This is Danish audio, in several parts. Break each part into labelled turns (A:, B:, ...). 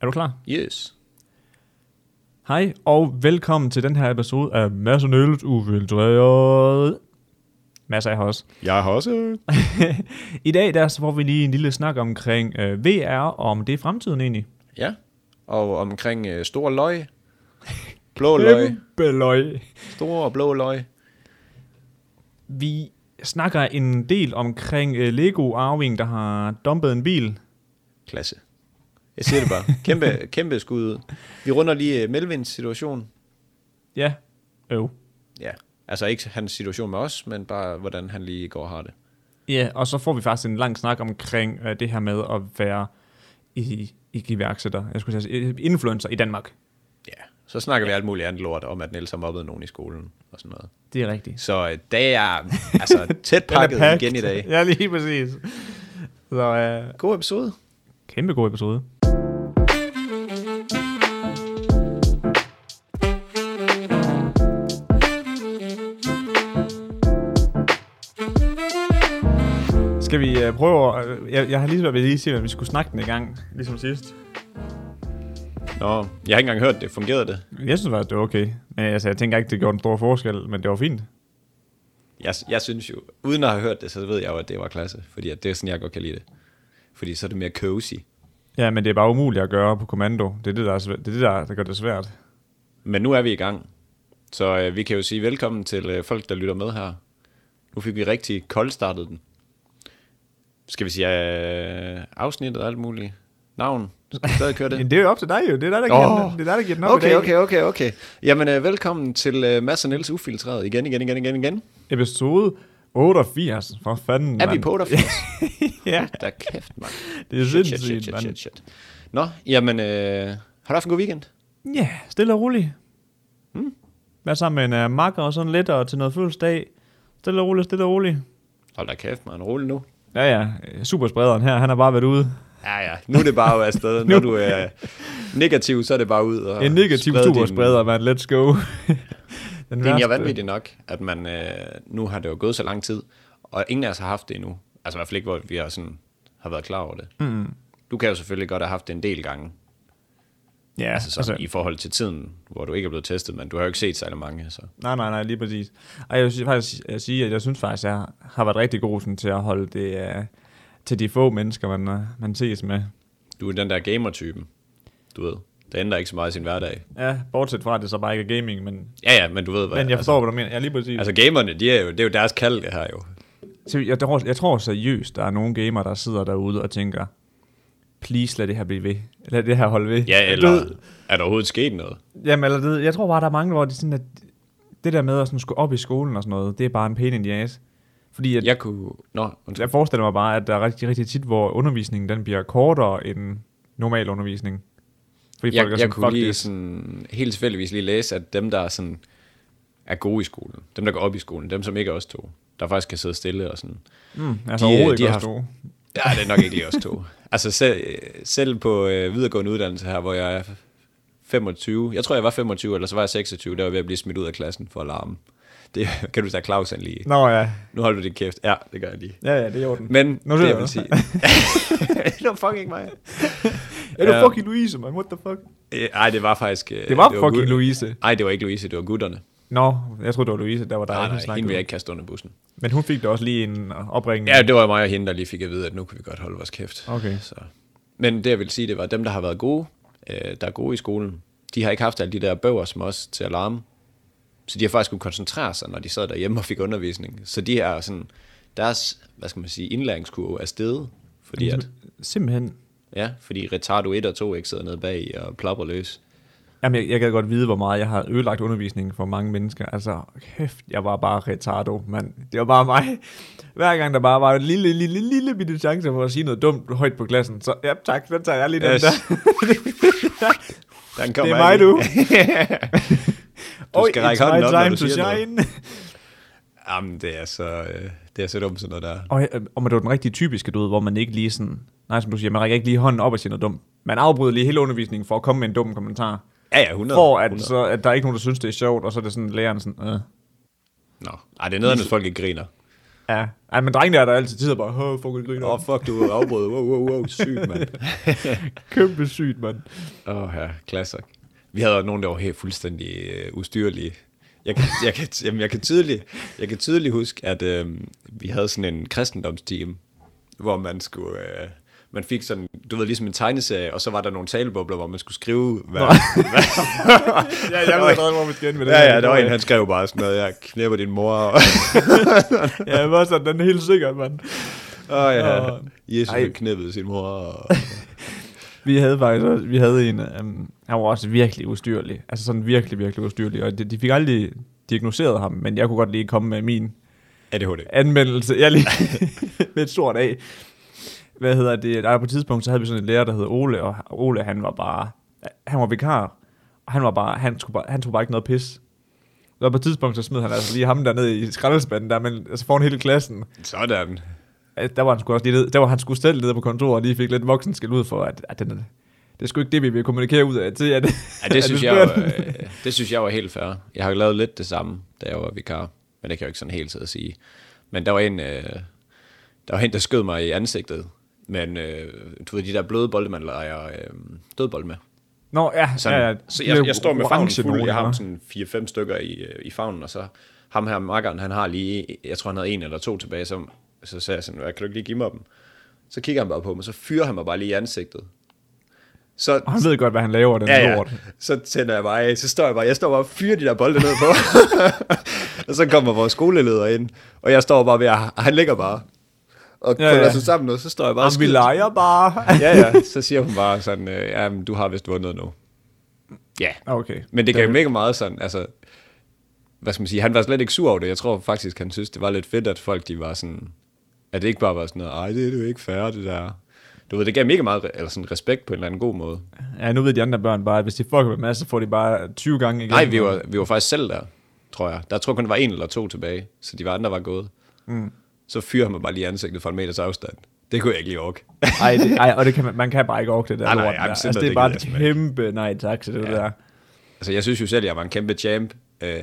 A: Er du klar?
B: Yes.
A: Hej, og velkommen til den her episode af Mads og Nølet Ufiltreret. Mads er her også.
B: Jeg har også...
A: I dag der så får vi lige en lille snak omkring øh, VR, og om det er fremtiden egentlig.
B: Ja. Og omkring øh, store løg. Blå løg.
A: Beløj.
B: Store blå løg.
A: Vi snakker en del omkring øh, Lego Arving, der har dumpet en bil.
B: Klasse. Jeg siger det bare. Kæmpe, kæmpe skud ud. Vi runder lige øh, Melvins situation.
A: Ja, øv.
B: Ja. Altså ikke hans situation med os, men bare hvordan han lige går og har det.
A: Ja, og så får vi faktisk en lang snak omkring øh, det her med at være i, ikke iværksætter, jeg skulle sige, øh, influencer i Danmark.
B: Ja. Så snakker ja. vi alt muligt andet lort om, at Niels har mobbet nogen i skolen og sådan noget.
A: Det er rigtigt.
B: Så øh, det er altså tæt
A: Den er
B: pakket
A: packed.
B: igen i dag.
A: ja, lige præcis. Så øh,
B: God episode.
A: kæmpe god episode. Skal vi øh, prøve at... øh, Jeg, jeg har lige svært ved lige at sige, at vi skulle snakke den i gang, ligesom sidst.
B: Nå, jeg har ikke engang hørt det. Fungerede det?
A: Jeg synes faktisk, det var okay. Men altså, jeg tænker ikke, det gjorde en stor forskel, men det var fint.
B: Jeg, jeg synes jo, uden at have hørt det, så ved jeg jo, at det var klasse. Fordi at det er sådan, jeg godt kan lide det. Fordi så er det mere cozy.
A: Ja, men det er bare umuligt at gøre på kommando. Det er det, der, er svæ- det, er det der, der gør det svært.
B: Men nu er vi i gang. Så øh, vi kan jo sige velkommen til øh, folk, der lytter med her. Nu fik vi rigtig koldstartet den. Skal vi sige øh, afsnittet og alt muligt? Navn? Skal vi stadig køre det?
A: Men det er jo op til dig jo. Det er dig, der giver,
B: Åh.
A: oh. det er dig, der giver den op i
B: Okay,
A: dag.
B: okay, okay, okay. Jamen, øh, velkommen til øh, Mads og Niels Ufiltreret igen, igen, igen, igen, igen.
A: Episode 88. For fanden,
B: Er vi
A: mand.
B: på dig?
A: ja,
B: Der er kæft, mand.
A: det er
B: Shit, shit, shit,
A: sindssygt,
B: shit,
A: mand.
B: shit, shit. Nå, jamen, øh, har du haft en god weekend?
A: Ja, stille og roligt. Hmm. Vær sammen med en uh, makker og sådan lidt, og til noget fødselsdag. Stille og roligt, stille og roligt.
B: Hold da kæft, man. Rolig nu.
A: Ja, ja. øh, Supersprederen her, han har bare været ude.
B: Ja, ja. Nu er det bare jo afsted. Når du er negativ, så er det bare ud. Og
A: En negativ
B: sprede din-
A: superspreder, mand. Let's go. Den
B: Det er egentlig
A: værste-
B: vanvittigt nok, at man, øh, nu har det jo gået så lang tid, og ingen af os har haft det endnu. Altså i hvert fald ikke, hvor vi har, sådan, har været klar over det.
A: Mm-hmm.
B: Mm. Du kan jo selvfølgelig godt have haft det en del gange,
A: Ja,
B: altså, sådan, altså, i forhold til tiden, hvor du ikke er blevet testet, men du har jo ikke set særlig mange. altså. Så.
A: Nej, nej, nej, lige præcis. Og jeg vil si- faktisk øh, sige, at jeg synes faktisk, at jeg har været rigtig god sådan, til at holde det uh, til de få mennesker, man, øh, man ses med.
B: Du er den der gamer-typen, du ved. Det ændrer ikke så meget i sin hverdag.
A: Ja, bortset fra, at det så bare ikke er gaming, men, men
B: Ja, ja, men du ved hvad.
A: jeg forstår, hvad du mener. Ja, lige præcis. Altså,
B: Altså, altså gamerne, de er jo, det er jo deres kald, det her jo.
A: så jeg, tror, jeg tror seriøst, der er nogle gamer, der sidder derude og tænker, please lad det her blive ved. Lad det her holde ved.
B: Ja,
A: Du
B: eller
A: ved-
B: er der overhovedet sket noget?
A: Jamen, eller det, jeg tror bare, der er mange, hvor det er sådan, at det der med at sådan skulle op i skolen og sådan noget, det er bare en pæn indias. Fordi at,
B: Jeg kunne... Nå, undskyld.
A: Jeg forestiller mig bare, at der er rigtig, rigtig tit, hvor undervisningen den bliver kortere end normal undervisning. Fordi folk er
B: Jeg, jeg
A: sådan,
B: kunne
A: "Fuck
B: lige
A: this."
B: sådan, helt tilfældigvis lige læse, at dem, der er, sådan, er gode i skolen, dem, der går op i skolen, dem, som ikke er os to, der faktisk kan sidde stille og sådan.
A: Mm, altså
B: de, øh,
A: overhovedet
B: de
A: ikke
B: har-
A: også haft...
B: Ja, det er nok ikke lige os to. Altså selv, selv på øh, videregående uddannelse her, hvor jeg er 25, jeg tror, jeg var 25, eller så var jeg 26, der var jeg ved at blive smidt ud af klassen for alarmen. Det kan du tage Claus han lige.
A: Nå ja.
B: Nu holder du din kæft. Ja, det gør jeg lige.
A: Ja, ja, det er i orden.
B: Men
A: Nu
B: det,
A: ser
B: jeg
A: jeg
B: vil
A: dig.
B: sige... det var fucking ikke mig.
A: er det
B: Ja.
A: fucking Louise, man? What the fuck?
B: Øh, Ej, det var faktisk... øh,
A: Det var, fucking
B: gut-
A: Louise.
B: Ej, det var ikke Louise, det var gutterne.
A: Nå, jeg troede, det var Louise, der var der
B: Nej,
A: ikke
B: nej,
A: snakket
B: hende vil jeg
A: om.
B: ikke kaste under bussen.
A: Men hun fik da også lige en opringning.
B: Ja, det var mig og hende, der lige fik at vide, at nu kan vi godt holde vores kæft.
A: Okay.
B: Så. Men det, jeg vil sige, det var, at dem, der har været gode, øh, der er gode i skolen, de har ikke haft alle de der bøger som os til alarme. Så de har faktisk kunne koncentrere sig, når de sad derhjemme og fik undervisning. Så de er sådan, deres, hvad skal man sige, indlæringskurve er steget. Fordi, at,
A: Simpelthen.
B: ja, fordi retardo 1 og 2 ikke sidder nede bag og plapper løs.
A: Jamen, jeg, jeg kan godt vide, hvor meget jeg har ødelagt undervisningen for mange mennesker. Altså, kæft, jeg var bare retardo, mand. Det var bare mig. Hver gang der bare var en lille, lille, lille bitte chance for at sige noget dumt højt på klassen, så ja, tak, den tager jeg lige den
B: Yes.
A: der.
B: Den
A: det
B: kommer
A: er mig,
B: ikke.
A: du.
B: Du
A: Oj,
B: skal række
A: it's
B: hånden
A: my
B: op, når
A: time
B: du
A: to
B: siger noget.
A: shine.
B: Jamen, det er så, øh, det er så dumt sådan noget der.
A: Og, øh, og man, det var den rigtig typiske, du ved, hvor man ikke lige sådan... Nej, som du siger, man rækker ikke lige hånden op og siger noget dumt. Man afbryder lige hele undervisningen for at komme med en dum kommentar.
B: Ja, ja, 100.
A: For at,
B: 100.
A: så, at der er ikke nogen, der synes, det er sjovt, og så er det sådan, læreren sådan... Øh.
B: Nå, Ej, det er nederen, at folk ikke griner.
A: Ja. Ej, men drengene er der altid tid og bare, åh, fuck, det griner.
B: Åh, oh, fuck, du afbrød. Wow, wow, wow, sygt, mand.
A: Kæmpe sygt, mand.
B: Åh, oh, ja, klassik. Vi havde nogen, der var helt fuldstændig øh, ustyrlige. Jeg kan, jeg, kan, jamen, jeg, kan tydeligt, jeg kan tydeligt huske, at øh, vi havde sådan en kristendomsteam, hvor man skulle... Øh, man fik sådan, du ved, ligesom en tegneserie, og så var der nogle talebobler, hvor man skulle skrive, hvad,
A: Ja, jeg ved allerede, hvor vi skal ende med det.
B: Ja, ja, der var en, han skrev bare sådan noget, jeg knæpper din mor. Og,
A: Ja, jeg var sådan, den er helt sikkert, mand.
B: og ja,
A: Åh.
B: Jesus
A: Ej.
B: knæppede sin mor. Og,
A: Vi havde faktisk også, vi havde en, øhm, han var også virkelig ustyrlig, altså sådan virkelig, virkelig ustyrlig, og de, de fik aldrig diagnosticeret ham, men jeg kunne godt lige komme med min
B: ADHD.
A: anmeldelse, jeg lige med et stort af. Hvad hedder det, der på et tidspunkt, så havde vi sådan en lærer, der hed Ole, og Ole, han var bare, han var vikar, og han var bare, han skulle bare, han tog bare ikke noget pis. Så på et tidspunkt, så smed han altså lige ham dernede i skraldespanden der, men altså foran hele klassen,
B: Sådan.
A: Altså, der var han sgu også lige ned, der var han sgu selv nede på kontoret, og lige fik lidt voksen skal ud for, at, at den, det er sgu ikke det, vi vil kommunikere ud af til, at,
B: Ja,
A: at
B: det, synes
A: er
B: jeg,
A: skørt.
B: jo, øh, det synes jeg var helt fair. Jeg har jo lavet lidt det samme, da jeg var vikar. Men det kan jeg jo ikke sådan helt sidde og sige. Men der var en, øh, der, var en der skød mig i ansigtet. Men øh, du ved, de der bløde bolde, man leger øh, dødbold med.
A: Nå, ja,
B: Sådan,
A: ja, ja.
B: Så jeg, jeg står med favnen
A: Orange
B: fuld.
A: nogle,
B: Jeg har
A: eller?
B: sådan 4-5 stykker i, øh, i favnen, og så ham her makkeren, han har lige, jeg tror han havde en eller to tilbage, så, så sagde jeg sådan, "Hvad, kan du ikke lige give mig dem? Så kigger han bare på mig, så fyrer han mig bare lige i ansigtet. Så,
A: Og han ved godt, hvad han laver, den
B: ja, ja.
A: lort.
B: Så tænder jeg bare af, så står jeg bare, jeg står bare og fyrer de der bolde ned på. og så kommer vores skoleleder ind, og jeg står bare ved, at han ligger bare. Og
A: Ja,
B: ja, ja.
A: ja.
B: sig sammen, og så står jeg bare og
A: Jamen, vi
B: skyder.
A: leger bare.
B: Ja, ja, så siger hun bare sådan, øh, jamen, du har vist vundet nu. Ja,
A: Ah, Okay.
B: men det gav jo mega meget sådan, altså, hvad skal man sige, han var slet ikke sur over det. Jeg tror faktisk, han synes, det var lidt fedt, at folk de var sådan, at det ikke bare var sådan noget, ej, det er jo ikke fair, det der. Du ved, det gav mega meget re- eller sådan, respekt på en eller anden god måde.
A: Ja, nu ved de andre børn bare, at hvis de fucker med mig, så får de bare 20 gange igen.
B: Nej, vi var, vi var faktisk selv der, tror jeg. Der tror jeg kun, der var en eller to tilbage, så de var andre var gået. Mm. Så fyrer han mig bare lige i ansigtet fra en meters afstand. Det kunne jeg ikke lige orke.
A: Ej, det, ej, og det kan man, man kan bare ikke orke det der
B: Nej, nej,
A: lort der.
B: jamen, sådan
A: Altså,
B: noget,
A: det er
B: det
A: bare
B: gider
A: et
B: jeg simpelthen
A: kæmpe nej tak til det ja. der.
B: altså, jeg synes jo selv, jeg var en kæmpe champ øh,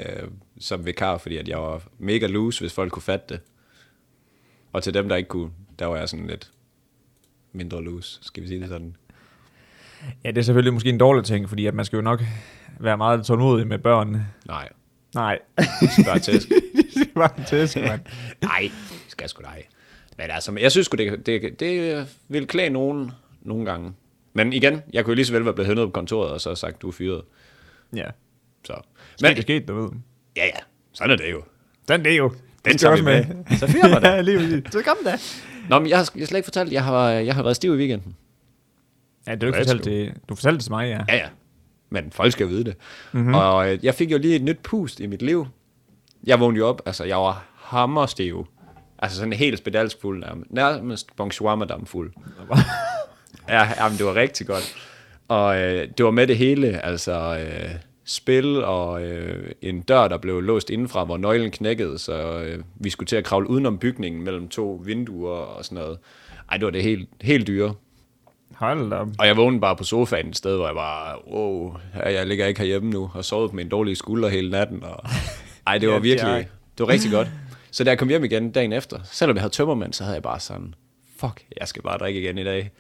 B: som vikar, fordi at jeg var mega loose, hvis folk kunne fatte det. Og til dem, der ikke kunne, der var jeg sådan lidt mindre loose, skal vi sige det sådan.
A: Ja, det er selvfølgelig måske en dårlig ting, fordi at man skal jo nok være meget tålmodig med børn.
B: Nej,
A: Nej,
B: bare tæsk.
A: det var en tæsk, mand.
B: Nej, skal sgu da ej. Men altså, jeg synes sgu, det, det, det vil klæde nogen nogle gange. Men igen, jeg kunne jo lige så vel være blevet hentet på kontoret, og så have sagt, du er fyret.
A: Ja.
B: Så.
A: Men
B: Men
A: det er sket, du ved.
B: ja, ja, sådan er det jo.
A: Den er jo.
B: Den tager vi med. Så fyrer man
A: ja,
B: det.
A: lige præcis.
B: Så kom da. Nå, men jeg har, jeg har slet ikke fortalt, jeg har, jeg har været stiv i weekenden.
A: Ja, det har du ikke
B: Let's
A: fortalt det. Du fortalte det til mig, ja.
B: Ja, ja. Men folk skal vide det. Mm-hmm. Og øh, jeg fik jo lige et nyt pust i mit liv. Jeg vågnede jo op, altså jeg var hammerstiv. Altså sådan helt spedalsk fuld nærmest. Nærmest bonsoir madame fuld. ja, jamen, det var rigtig godt. Og øh, det var med det hele, altså øh, spil og øh, en dør, der blev låst indenfra, hvor nøglen knækkede, så øh, vi skulle til at kravle udenom bygningen mellem to vinduer og sådan noget. Ej, det var det helt, helt dyre.
A: Hold da op.
B: Og jeg vågnede bare på sofaen et sted, hvor jeg bare, wow, jeg ligger ikke herhjemme nu, og sovet med en dårlig skulder hele natten. Og... Ej, det var
A: Ja,
B: virkelig,
A: tak.
B: det var rigtig godt. Så da jeg kom hjem igen dagen efter, selvom jeg havde tømmermænd, så havde jeg bare sådan, fuck, jeg skal bare drikke igen i dag.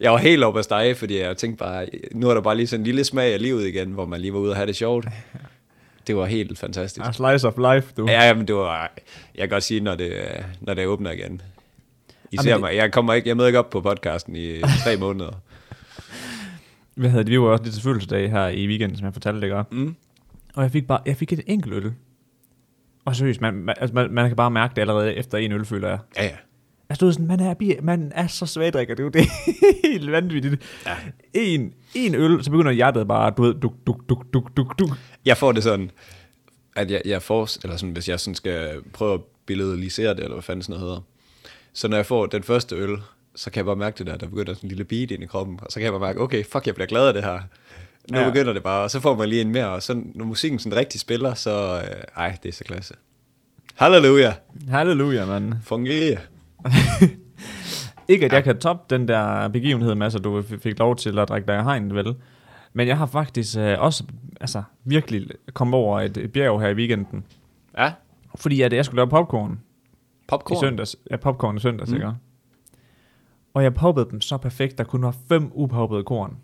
B: Jeg var helt oppe at stege, fordi jeg tænkte bare, nu er der bare lige sådan en lille smag af livet igen, hvor man lige var ude og have det sjovt. Det var helt fantastisk.
A: A slice of life, du.
B: Ja, ja, men det var, jeg kan godt sige, når det, når det åbner igen. I ser
A: Jamen, det-
B: mig, jeg kommer ikke, jeg møder ikke op på podcasten i tre måneder.
A: Hvad havde det? Vi var også lidt til fødselsdag her i weekenden, som jeg fortalte dig mm. Og jeg fik bare, jeg fik et enkelt øl. Og seriøst, man, man, altså, man, man kan bare mærke det allerede efter en øl, føler jeg.
B: Ja, ja.
A: Jeg stod sådan, man er, bi- man er så svagdrikker, det er jo det helt vanvittigt. Ja. En, en øl, så begynder hjertet bare, du ved, duk, duk, duk, duk, duk, duk.
B: Jeg får det sådan, at jeg, jeg får, eller sådan, hvis jeg sådan skal prøve at billedisere det, eller hvad fanden sådan noget hedder. Så når jeg får den første øl, så kan jeg bare mærke det der, der begynder sådan en lille beat ind i kroppen, og så kan jeg bare mærke, okay, fuck, jeg bliver glad af det her. Nu
A: Ja.
B: ja. begynder det bare, og så får man lige en mere, og så når musikken sådan rigtig spiller, så øh, ej, det er så klasse. Halleluja,
A: Halleluja, mand.
B: fungerer.
A: Ikke at jeg kan toppe den der begivenhed, Mads, at du f- fik lov til at drikke dig i hegn, vel? Men jeg har faktisk øh, også altså, virkelig kommet over et, et bjerg her i weekenden.
B: Ja,
A: Fordi at jeg skulle lave popcorn. i
B: Popcorn?
A: søndags. Ja, popcorn i søndags, mm. ikke? Og jeg poppede dem så perfekt, der kun var fem upoppede korn.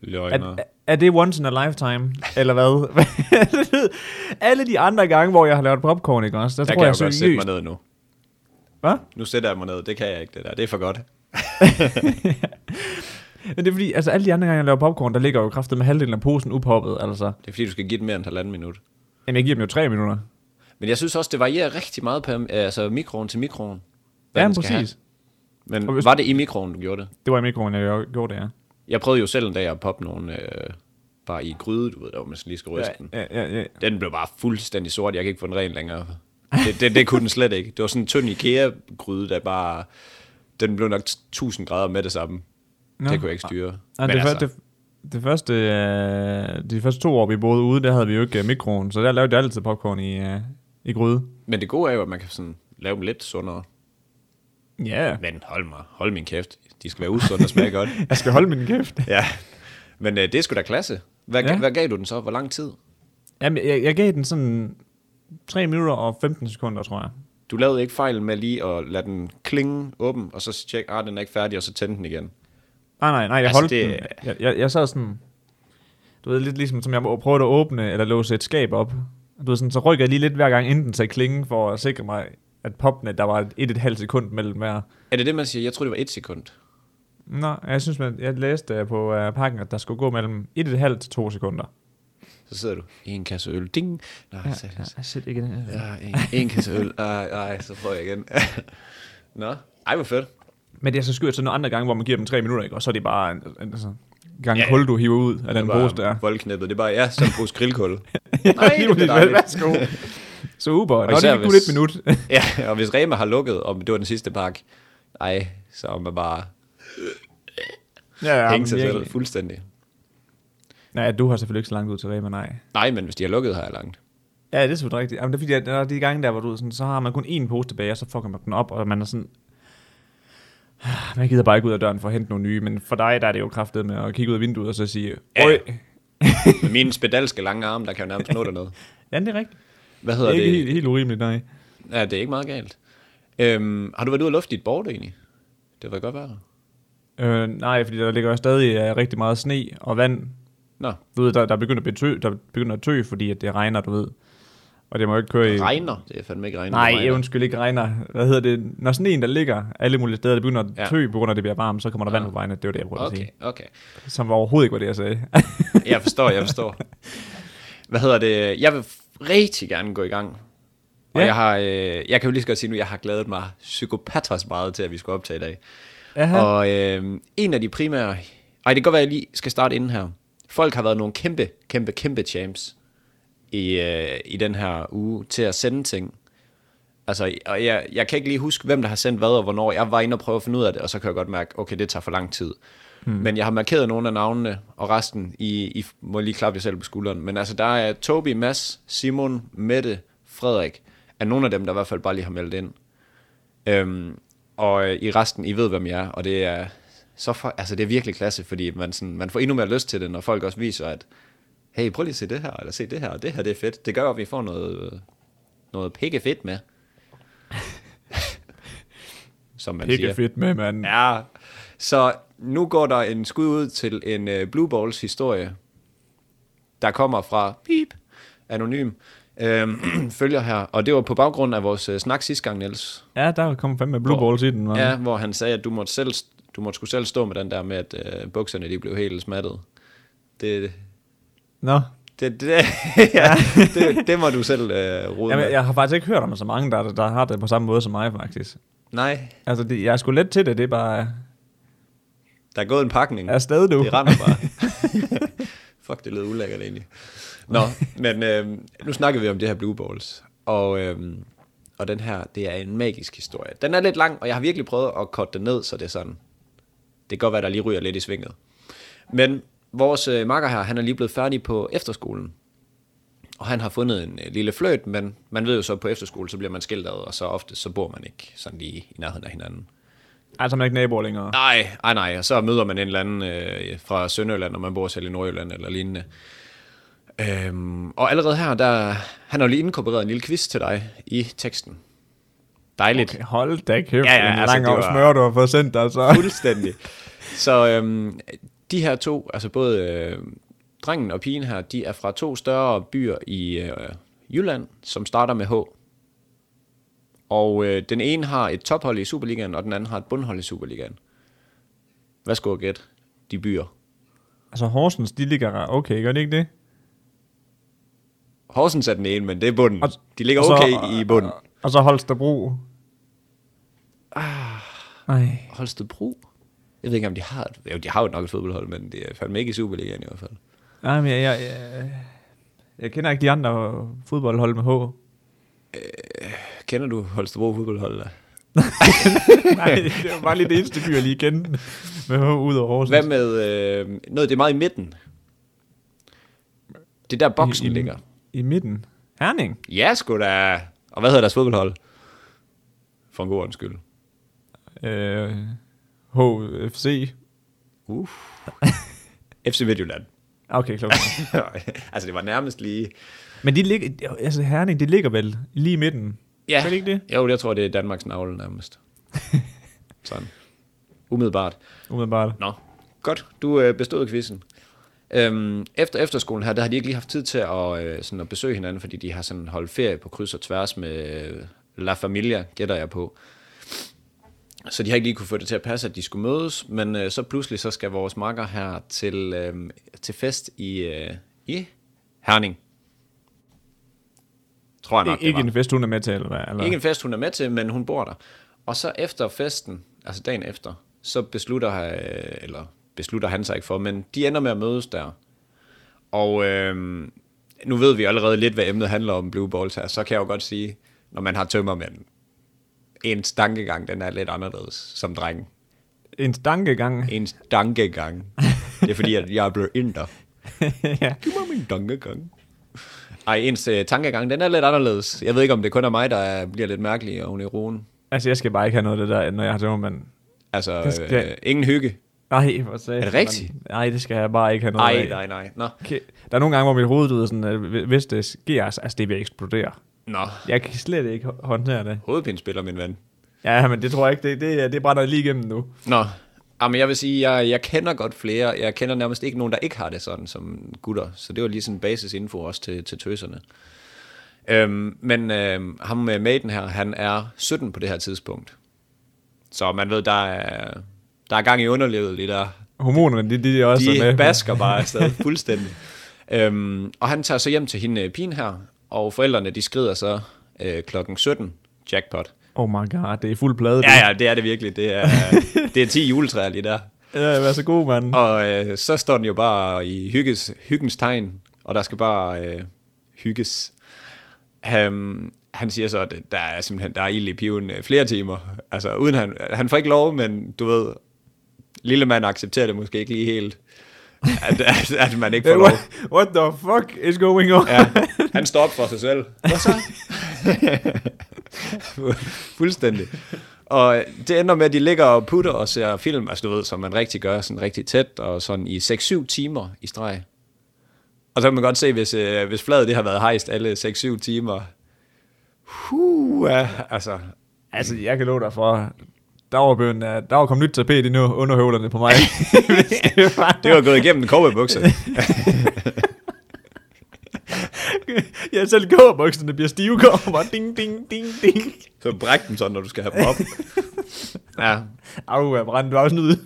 B: Løgner.
A: Er, er det once in a lifetime, eller hvad? Alle de andre gange, hvor jeg har lavet popcorn, ikke også? Der,
B: Der
A: tror
B: kan jeg
A: jeg,
B: jo godt sætte mig
A: seriøst-
B: ned nu.
A: Hvad?
B: Nu sætter jeg mig ned. Det kan jeg ikke, det der. Det er for godt.
A: Men det er fordi, altså alle de andre gange, jeg laver popcorn, der ligger jo kraftet med halvdelen af posen upoppet, altså.
B: Det er fordi, du skal give den mere end halvanden minut.
A: Jamen, jeg giver dem jo tre minutter.
B: Men jeg synes også, det varierer rigtig meget per, altså mikroen til mikroen. hvad
A: Ja,
B: den
A: men
B: skal
A: præcis.
B: have.
A: Og
B: Men
A: hvis-
B: var det i mikroen, du gjorde det?
A: Det var i mikroen, jeg gjorde det, ja.
B: Jeg prøvede jo selv en dag at poppe nogle øh, bare i gryde, du ved, der hvor man sådan lige skal ryste den.
A: Ja, ja, ja.
B: Den blev bare fuldstændig sort. Jeg kan ikke få den ren længere. Det, det, det kunne den slet ikke. Det var sådan en tynd IKEA-gryde, der bare... Den blev nok 1000 grader med det samme.
A: Nå.
B: Det kunne jeg ikke styre.
A: Ja, det, altså. det, det første, øh, de første to år, vi boede ude, der havde vi jo ikke øh, mikroen, så der lavede jeg altid popcorn i, øh, i gryde.
B: men det gode er jo, at man kan sådan lave dem lidt sundere.
A: Ja,
B: Men hold mig, hold min kæft. De skal være usunde og smage godt.
A: jeg skal holde min kæft.
B: Ja. Men øh, det er sgu da klasse. Hvad,
A: Ja.
B: ja. hvad gav du den så? Hvor lang tid?
A: Jamen, jeg, jeg gav den sådan 3 minutter og 15 sekunder, tror jeg.
B: Du lavede ikke fejl med lige at lade den klinge åben, og så tjekke, ah, den er ikke færdig, og så tænde den igen.
A: Nej, nej, nej, jeg
B: Altså,
A: altså, holdt det...
B: det-
A: den. Jeg, jeg, jeg sad sådan... Du ved, lidt ligesom, som jeg prøvede at åbne eller låse et skab op. Du ved, sådan, så rykker jeg lige lidt hver gang, inden den sagde klingen, for at sikre mig, at popne, der var et, et halvt sekund mellem hver.
B: Er det det, man siger? Jeg tror det var et sekund.
A: Nå, jeg synes, man, jeg læste øh, på uh, pakken, at der skulle gå mellem 1,5 til 2 sekunder.
B: Så sidder du, en kasse øl, ding. Nej, ja, ja.
A: jeg sæt ikke den.
B: Ja, en, en kasse øl. Ej, ej, så prøver jeg igen. Nå, ej, hvor fedt.
A: Men det er så skørt, så nogle andre gange, hvor man giver dem 3 minutter, ikke? og så er det bare en, en, altså, gang
B: Ja, ja.
A: ja, kul, du hiver ud af den
B: Det er bare
A: pose der.
B: Voldknæppet, det er bare, ja, som bruges grillkul.
A: Nej,
B: det er dejligt.
A: Værsgo. Super. Nå, det
B: især
A: er kun
B: hvis-
A: et minut.
B: ja, og hvis Rema har lukket, og det var den sidste pakke, ej, så er man bare
A: ja,
B: ja, hænge
A: men
B: sig selv
A: virkelig.
B: fuldstændig.
A: Nej, du har selvfølgelig ikke så langt ud til Rema, nej.
B: Nej, men hvis de har lukket, har jeg langt.
A: Ja, det er selvfølgelig rigtigt. Jamen, det er fordi, at der er de gange der, hvor du er sådan, så har man kun én pose tilbage, og så fucker man den op, og man er sådan... Ah, Man gider bare ikke ud af døren for at hente nogle nye, men for dig, der er det jo kraftet med at kigge ud af vinduet og så sige,
B: Ja.
A: Øj.
B: Med mine spedalske lange arme, der kan jeg nærmest nå dernede.
A: Ja, det er rigtigt.
B: Hvad
A: Det
B: hedder
A: er
B: det?
A: ikke helt, helt urimeligt, nej.
B: Ja, det er ikke meget galt. Øhm, har du været ude og lufte dit bord egentlig? Det var godt være.
A: Øh, nej, fordi der ligger jo stadig uh, rigtig meget sne og vand.
B: Nå,
A: Du ved, der, der, begynder at betø, der begynder at tø, fordi at det regner, du ved. Og det må jo ikke køre i...
B: regner. Det er fandme ikke regner.
A: Nej,
B: det regner.
A: jeg undskyld ikke regner. Hvad hedder det? Når sneen der ligger alle mulige steder, det begynder at
B: Ja.
A: ja. tø, på grund af at det bliver varmt, så kommer der vand på vejene. Det var det, jeg prøvede okay. at
B: Okay,
A: sige.
B: okay.
A: Som var overhovedet ikke, var det, jeg sagde.
B: Jeg forstår, jeg forstår. Hvad hedder det? Jeg vil f- rigtig gerne gå i gang. Og
A: Ja.
B: jeg, har, øh, jeg kan jo lige så godt sige nu, jeg har glædet mig psykopatras meget til, at vi skulle optage i dag.
A: Aha.
B: Og øh, en af de primære... Ej, det kan godt være, at jeg lige skal starte inden her. Folk har været nogle kæmpe, kæmpe, kæmpe champs i, øh, i den her uge til at sende ting. Altså, og jeg, jeg kan ikke lige huske, hvem der har sendt hvad og hvornår. Jeg var inde og prøve at finde ud af det, og så kan jeg godt mærke, okay, det tager for lang tid. Hmm. Men jeg har markeret nogle af navnene, og resten, I, I må lige klappe jer selv på skulderen. Men altså, der er Tobi, Mads, Simon, Mette, Frederik, er nogle af dem, der i hvert fald bare lige har meldt ind. Øhm, og øh, i resten, I ved, hvem jeg er, og det er, så for, altså, det er virkelig klasse, fordi man, sådan, man får endnu mere lyst til det, når folk også viser, at hey, prøv lige at se det her, eller se det her, og det her, det er fedt. Det gør, at vi får noget, øh, noget pikke fedt med. Som man
A: Pikke
B: siger.
A: fedt med, mand. Ja.
B: Ja, så nu går der en skud ud til en øh, Blue Balls historie, der kommer fra Pip, anonym, øhm, følger her. Og det var på baggrund af vores øh, snak sidste gang, Niels.
A: ja, der kom fandme blue balls i den, mand.
B: Ja, hvor han sagde, at du måtte, selv, du måtte skulle selv stå med den der med, at øh, bukserne de blev helt smattet. Det,
A: Nå.
B: det, det, ja, det, det må du selv øh, rode
A: Jamen,
B: med.
A: jeg har faktisk ikke hørt om så mange, der, der har det på samme måde som mig, faktisk.
B: Nej,
A: Altså, det, jeg er sgu let til det, det er bare
B: der er gået en pakning.
A: afsted nu.
B: Det render bare. Fuck, det lød ulækkert egentlig. Nå, men øh, nu snakker vi om det her Blue Balls. Og, øh, og den her, det er en magisk historie. Den er lidt lang, og jeg har virkelig prøvet at korte den ned, så det er sådan. Det kan godt være, der lige ryger lidt i svinget. Men vores øh, makker her, han er lige blevet færdig på efterskolen. Og han har fundet en øh, lille fløjt, men man ved jo så, at på efterskole, så bliver man skilt ad, og så ofte, så bor man ikke sådan lige i nærheden af hinanden.
A: Altså, man er ikke naboer længere.
B: Nej, nej, nej. Og så møder man en eller anden øh, fra Sønderjylland, og man bor selv i Nordjylland eller lignende. Øhm, og allerede her, der, han har jo lige inkorporeret en lille quiz til dig i teksten. Dejligt.
A: Okay, hold da kæft,
B: Ja, ja,
A: en
B: altså,
A: lang
B: det
A: altså,
B: var-
A: smør, du har fået sendt altså. dig, så.
B: Fuldstændig. Så øhm, de her to, altså både øh, drengen og pigen her, de er fra to større byer i øh, Jylland, som starter med H. Og øh, den ene har et tophold i Superligaen, og den anden har et bundhold i Superligaen. Hvad skulle jeg gætte? De byer.
A: Altså Horsens, de ligger okay, gør det ikke det?
B: Horsens er den ene, men det er bunden.
A: Og-
B: De ligger
A: og så-
B: okay i bunden.
A: Og så Holstebro. Ah. Nej.
B: Holstebro? Jeg ved ikke, om de har et... Jo, de har jo nok et fodboldhold, men det er fandme ikke i Superligaen i hvert fald.
A: Nej, men jeg, jeg, jeg, jeg kender ikke de andre fodboldhold med H.
B: Kender du Holstebro fodboldhold? Da?
A: Nej, det var bare lige det eneste by, jeg lige kendte med H ud over Horsens.
B: Hvad med øh, noget, det er meget i midten? Det er der boksen
A: I- i-
B: ligger.
A: I midten. Herning.
B: Ja, sgu da. Og hvad hedder deres fodboldhold? For en god undskyld.
A: Øh, HFC.
B: FC Midtjylland.
A: Ah, Okay, klokken.
B: altså, det var nærmest lige...
A: Men de ligger, altså Herning, det ligger vel lige i midten.
B: Ja.
A: Gør det ikke det?
B: Jo, jeg tror, det er Danmarks navle nærmest. Sådan. Umiddelbart.
A: Umiddelbart.
B: Nå, godt. Du øh, bestod quizzen. Øhm, efter efterskolen her, der har de ikke lige haft tid til at, øh, sådan at besøge hinanden, fordi de har sådan holdt ferie på kryds og tværs med øh, La Familia, gætter jeg på. Så de har ikke lige kunne få det til at passe, at de skulle mødes, men øh, så pludselig så skal vores makker her til, øh, til fest i, øh, i Herning. Tror jeg nok,
A: Ik-
B: det var.
A: ikke en fest, hun er med til, eller hvad? Eller?
B: Ikke en fest, hun er med til, men hun bor der. Og så efter festen, altså dagen efter, så beslutter, han, øh, eller beslutter han sig ikke for, men de ender med at mødes der. Og øhm, nu ved vi allerede lidt, hvad emnet handler om, Blue Balls her, så kan jeg jo godt sige, når man har tømmermanden, ens tankegang, den er lidt anderledes som dreng.
A: En stankegang.
B: Ens tankegang. Det er fordi, at jeg er blevet inder.
A: ja.
B: Giv mig min tankegang. Ej, ens øh, tankegang, den er lidt anderledes. Jeg ved ikke, om det kun er mig, der er, bliver lidt mærkelig og uniron.
A: Altså, jeg skal bare ikke have noget af det der, når jeg har tømmermand.
B: Altså,
A: Det skal-
B: øh, ingen hygge.
A: Nej, hvor sagde
B: Er det rigtigt?
A: Nej, det skal jeg bare ikke have noget
B: Nej,
A: af.
B: nej, nej. Nå.
A: Okay. Der er nogle gange, hvor mit hoved, du ved, sådan, at hvi- hvis det sker, så- altså det vil eksplodere.
B: Nå.
A: Jeg kan slet ikke hå- håndtere det.
B: Hovedpinespiller, min ven.
A: Ja, men det tror jeg ikke. Det, det, det brænder lige igennem nu.
B: Nå. Jamen, jeg vil sige, jeg, jeg kender godt flere. Jeg kender nærmest ikke nogen, der ikke har det sådan som gutter. Så det var lige sådan basisinfo også til, til tøserne. Øhm, men øhm, ham med maiden her, han er 17 på det her tidspunkt. Så man ved, der er, der er gang i underlivet lige der.
A: Hormonerne, de, de er også øh,
B: de
A: med.
B: basker bare afsted fuldstændig. Øhm, og han tager så hjem til hende øh, pigen her, og forældrene de skrider så øh, klokken 17, jackpot.
A: Oh my god, det er fuld plade. det.
B: Ja, ja, det er det virkelig. Det er, det er 10 juletræer lige der.
A: ja vær så god, mand.
B: Og øh, så står den jo bare i hygges, hyggens tegn, og der skal bare øh, hygges. Han, han siger så, at der er simpelthen der er ild i piven øh, flere timer. Altså, uden han, han får ikke lov, men du ved, lille mand accepterer det måske ikke lige helt, at, at, at man ikke får
A: Hey,
B: lov.
A: what, what the fuck is going on?
B: Ja, han står op for sig selv. Hvad så? Fuldstændig. Og det ender med, at de ligger og putter og ser film, altså du ved, som man rigtig gør, sådan rigtig tæt, og sådan i 6-7 timer i streg. Og så kan man godt se, hvis, øh, hvis fladet det har været hejst alle 6-7 timer. Huh, altså,
A: Altså, jeg kan love dig for, der var, bøn, der var kommet nyt tapet i nu underhøvlerne på mig. Hvis det var,
B: det var gået igennem en cowboybukse.
A: ja, selv gåbukserne bliver stive kommer. Ding, ding, ding, ding.
B: Så bræk dem sådan, når du skal have dem op. Ja,
A: Au, jeg brændte du er også ud,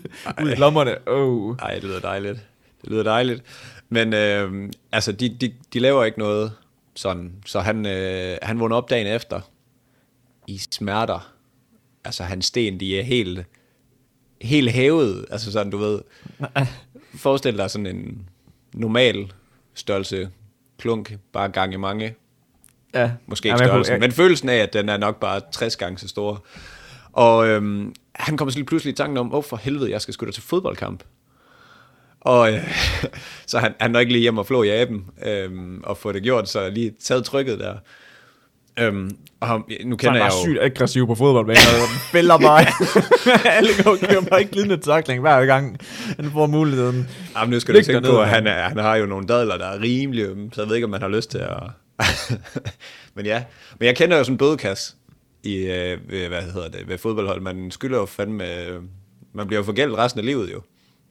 A: ud i lommerne. Oh.
B: Ej, det lyder dejligt. Det lyder dejligt. Men øh, altså, de, de, de laver ikke noget sådan. Så han, øh, han vågner op dagen efter i smerter. Altså, hans sten, de er helt, helt hævet. Altså sådan, du ved. Forestil dig sådan en normal størrelse klunk, bare gange mange.
A: Ja.
B: Måske ikke
A: Jamen, jeg
B: størrelsen,
A: kunne-
B: men følelsen af, at den er nok bare 60 gange så stor. Og øhm, han kommer så lige pludselig i tanken om, åh oh, for helvede, jeg skal sgu da til fodboldkamp. Og øh, så han, han når ikke lige hjem og flå i aben, øhm, og få det gjort, så lige taget trykket der. Øhm, og ham, nu
A: Så
B: kender
A: han
B: jeg
A: var
B: jo...
A: sygt aggressiv på fodboldbanen, og fælder bare. Alle går kører bare ikke glidende takling hver gang, han får muligheden.
B: Jamen, nu skal du
A: Læg dig
B: tænke
A: ned,
B: på, at
A: mand.
B: han, er, han har jo nogle dadler, der er øhm, rimelig ømme, så jeg ved ikke, om man har lyst til at... men ja, men jeg kender jo sådan en bødekasse. i, øh, ved- hvad hedder det, ved fodboldhold. Man skylder jo fandme, øh, man bliver jo forgældt resten af livet jo,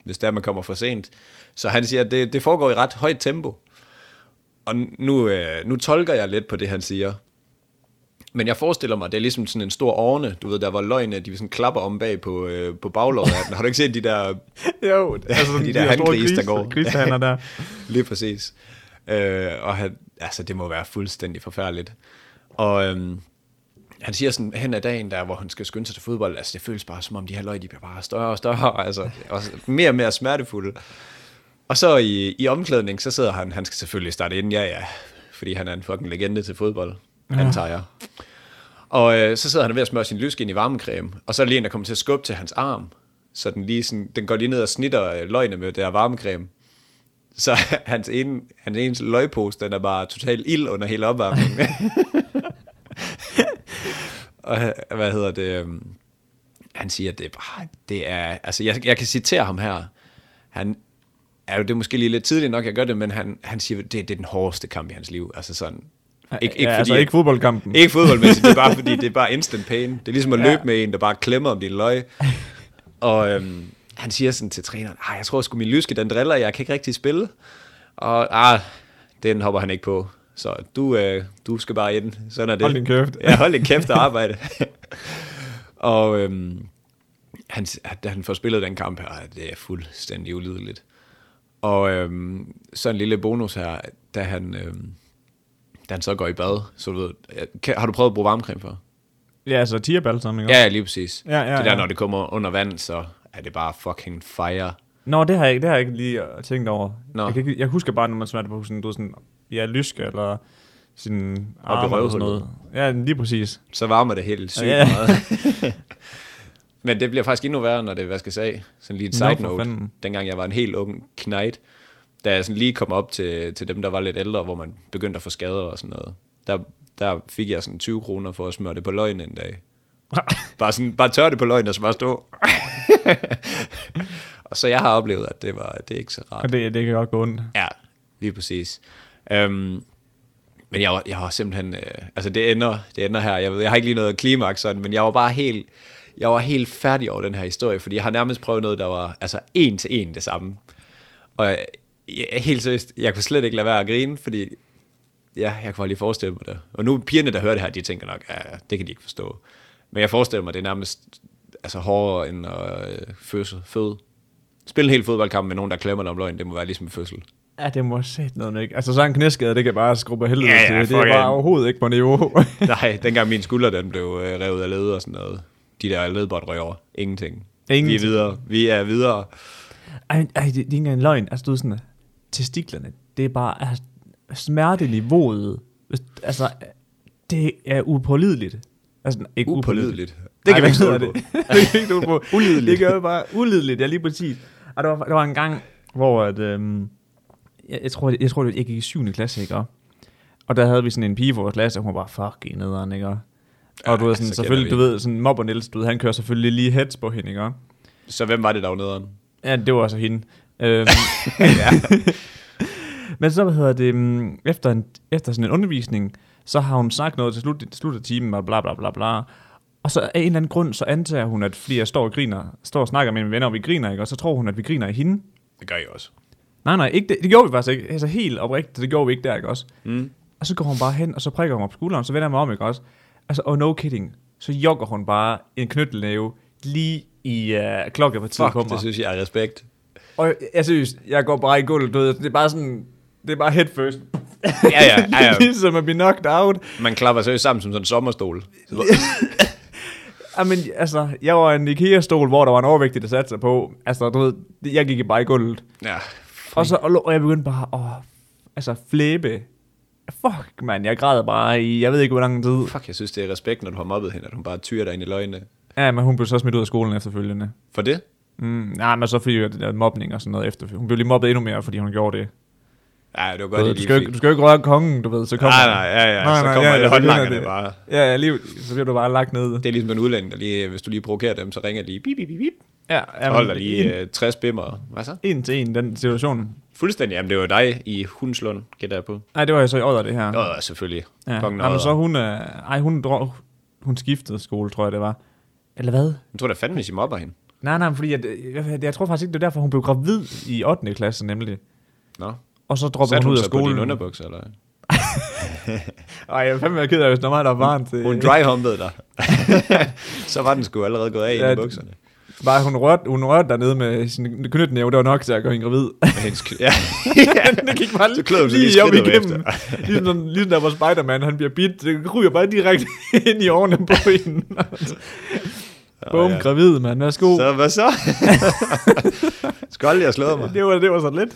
B: hvis der man kommer for sent. Så han siger, at det, det foregår i ret højt tempo. Og nu, øh, nu tolker jeg lidt på det, han siger. Men jeg forestiller mig, det er ligesom sådan en stor orne, du ved, der var løgne, de sådan klapper om bag på, øh, på baglåret. af den. Har du ikke set de der
A: jo, altså sådan
B: de der handgrise, der går.
A: Grisehander der.
B: Lige præcis. Øh, og han, altså, det må være fuldstændig forfærdeligt. Og øhm, han siger sådan, hen ad dagen der, hvor han skal skynde sig til fodbold, altså det føles bare som om de her løg, de bliver bare større og større, altså og mere og mere smertefulde. Og så i, i omklædning, så sidder han, han skal selvfølgelig starte ind, ja ja, fordi han er en fucking legende til fodbold, ja. antager jeg. Og øh, så sidder han ved at smøre sin lysk ind i varmecreme, og så er lige en, der kommer til at skubbe til hans arm, så den, lige sådan, den går lige ned og snitter øh, løgene med det her varmecreme. Så hans ene, hans ene løgpose, den er bare totalt ild under hele opvarmningen. og hvad hedder det? øhm, Han siger, at det er bare, det er, altså jeg, jeg kan citere ham her. Han er jo, det er måske lige lidt tidligt nok, jeg gør det, men han, han siger, det, det er den hårdeste kamp i hans liv. Altså sådan,
A: Ja, altså ikke fodboldkampen.
B: Ikke fodboldmæssigt, det er bare fordi, det er bare instant pain. Det er ligesom at løbe med en, der bare klemmer om din løg. Og øhm, han siger sådan til træneren, "Ej, jeg tror sgu min lyske, den driller, jeg kan ikke rigtig spille. Og ah, den hopper han ikke på. Så du, øh, du skal bare ind. Sådan er det.
A: Hold din kæft.
B: Ja, hold din kæft og arbejde. og øhm, han, at han får spillet den kamp her, det er fuldstændig ulideligt. Og øhm, så en lille bonus her, da han, øhm, da han så går i bad, så du ved, kan, har du prøvet at bruge varmecreme før?
A: Ja, altså tierball sammen, ikke?
B: Ja, ja, lige præcis.
A: Ja, ja,
B: det der,
A: ja.
B: når det kommer under vand, så er det bare fucking fire.
A: Nå, det har jeg ikke, det har jeg ikke lige øh, tænkt over.
B: Nå.
A: Jeg, kan ikke, jeg husker bare, når man smager på sådan, du ved, sådan, ja, lysk eller sin
B: Op i
A: arm eller sådan
B: røvhullet.
A: noget. Ja, lige præcis.
B: Så varmer det helt sygt
A: Ja.
B: ja. meget. Men det bliver faktisk endnu værre, når det er vaskes af. Sådan lige en
A: Nå,
B: side
A: for
B: note.
A: fanden.
B: Dengang jeg var en helt ung knight, da jeg sådan lige kom op til, til dem, der var lidt ældre, hvor man begyndte at få skader og sådan noget. Der, der fik jeg sådan 20 kroner for at smøre det på løgn en dag. Bare, sådan, bare tør det på løgn og så bare stå. og så jeg har oplevet, at det, var, det er ikke så rart.
A: Og det, det kan godt gå ondt.
B: Ja, lige præcis. Øhm, men jeg var, jeg var simpelthen... Øh, altså, det ender, det ender her. Jeg, ved, jeg har ikke lige noget klimaks sådan, men jeg var bare helt... Jeg var helt færdig over den her historie, fordi jeg har nærmest prøvet noget, der var altså en til en det samme. Og jeg, jeg, helt seriøst, jeg kunne slet ikke lade være at grine, fordi ja, jeg kunne bare lige forestille mig det. Og nu pigerne, der hører det her, de tænker nok, ja, det kan de ikke forstå. Men jeg forestiller mig, det er nærmest altså, hårdere end at øh, fødsel, føde. Spille en hel fodboldkamp med nogen, der klemmer dig om løgn, det må være ligesom en fødsel.
A: Ja, det må sætte noget, ikke? Altså, sådan en knæskade, det kan bare skrubbe af helvede
B: Ja, ja,
A: til. Det
B: fuck
A: er bare
B: it.
A: overhovedet ikke på niveau.
B: Nej, dengang min skulder den blev øh, revet af led og sådan noget. De der ledbånd røg over. Ingenting. Vi er
A: Ingenting.
B: videre. Vi er videre.
A: Ej, ej det, det er ikke engang en løgn. Altså, du ved sådan, testiklerne, det er bare altså, smerteniveauet. hvis- Altså, det er upålideligt. Altså, ikke
B: Upålideligt.
A: Det
B: Ej,
A: kan vi ikke
B: hvad hedder
A: stole på. det kan vi ikke stole på.
B: Ulideligt.
A: Det gør jo bare ulideligt, ja lige præcis. Og der var, der var en gang, hvor at, øhm, jeg, jeg, tror, jeg, jeg tror, det var- jeg gik i 7. klasse, ikke? Og- Og der havde vi sådan en pige for vores klasse, og hun var bare fucking nederen, ikke? Og
B: Ja,
A: du ved, sådan,
B: så
A: selvfølgelig, du
B: kender vi.
A: ved, sådan mobber Niels, du ved, han kører selvfølgelig lige heads på hende, ikke?
B: Så hvem var det, der var nederen?
A: Ja, det var altså hende. Øhm, Men så, hvad hedder det, mm, efter, en, efter sådan en undervisning, så har hun sagt noget til slut, til slut af timen, og bla bla bla bla. Og så af en eller anden grund, så antager hun, at flere står og griner, står og snakker med mine venner, og vi griner, ikke? Og så tror hun, at vi griner af hende.
B: Det gør jeg også.
A: Nej, nej, ikke det, det gjorde vi faktisk ikke. Altså helt oprigtigt, det gjorde vi ikke der, ikke også? Mm. Og så går hun bare hen, og så prikker hun mig på skulderen, så vender jeg mig om, ikke også? Altså, oh no kidding, så jogger hun bare en knyttelnæve lige i uh, klokkepartiet
B: Fuck,
A: på mig.
B: det synes jeg er respekt.
A: Og jeg, jeg seriøst, jeg går bare i gulvet, du ved, det er bare sådan, det er bare head first.
B: Ja, ja, ja, ja.
A: ligesom at blive knocked out.
B: Man klapper sig sammen som sådan en sommerstol.
A: Jamen, altså, jeg var en IKEA-stol, hvor der var en overvægtig, der satte sig på. Altså, du ved, det- jeg gik bare i gulvet.
B: Ja.
A: Og, så, og, lå- og jeg begyndte bare at, altså, flæbe. Fuck, mand, jeg græd bare i, jeg ved ikke, hvor lang tid.
B: Fuck, jeg synes, det er respekt, når du har mobbet hende, at hun bare tyrer dig ind i løgne.
A: Ja, men hun blev så smidt ud af skolen efterfølgende.
B: For det?
A: Mm, nej, men så fordi det der mobning og sådan noget efterfølgende. Hun blev lige mobbet endnu mere, fordi hun gjorde det.
B: Ja, det var
A: Du,
B: godt,
A: ved,
B: det
A: du,
B: lige
A: skal, jo ikke-
B: fik.
A: du skal jo ikke røre kongen, du ved, så kommer
B: Nej, nej, ja, ja, så kommer alle håndlangerne bare.
A: Ja, ja, lige, så bliver du bare lagt ned.
B: Det er ligesom en udlænding, der lige, hvis du lige provokerer dem, så ringer de lige, bip, bip, bip, bip.
A: Ja, ja,
B: Holder
A: men
B: lige
A: En,
B: øh, 60 bimmer. Hvad så?
A: en til en, den situation.
B: Fuldstændig, jamen det var dig i Hundslund, gætter jeg på.
A: Nej, det var jo så i Odder, det her.
B: Nå, ja, selvfølgelig.
A: Ja.
B: Kongen
A: Jamen,
B: Odder.
A: så hun, øh, ej, hun, drog, hun skiftede skole, tror jeg det var. Eller hvad?
B: Jeg tror da fandme, hvis I mobber hende.
A: Nej, nej, men fordi jeg, jeg, jeg tror faktisk ikke, det var derfor, hun blev gravid i 8. klasse nemlig.
B: Nå.
A: Og så droppede
B: Satte
A: hun
B: hun
A: ud af
B: sig på dine
A: skolen.
B: underbukser, eller? hvad?
A: Ej, jeg er fandme ked af, hvis der var der barn til...
B: Hun dryhumpede dig. så var den sgu allerede gået af
A: Ja,
B: ja, i bukserne.
A: Bare hun rørte, hun rørte dernede med sin knytnæve, det var nok til at gøre hende gravid.
B: Med hendes kn- ja.
A: det gik bare
B: Så kløede hun sig
A: lige,
B: lige
A: op
B: skridtet
A: igennem. ligesom, sådan- ligesom der var Spider-Man, han bliver bidt, det ryger bare direkte ind i årene på hende. Bum,
B: ja.
A: gravid, mand, værsgo.
B: Så hvad så? Skold, jeg slået mig.
A: Det var, det var så lidt.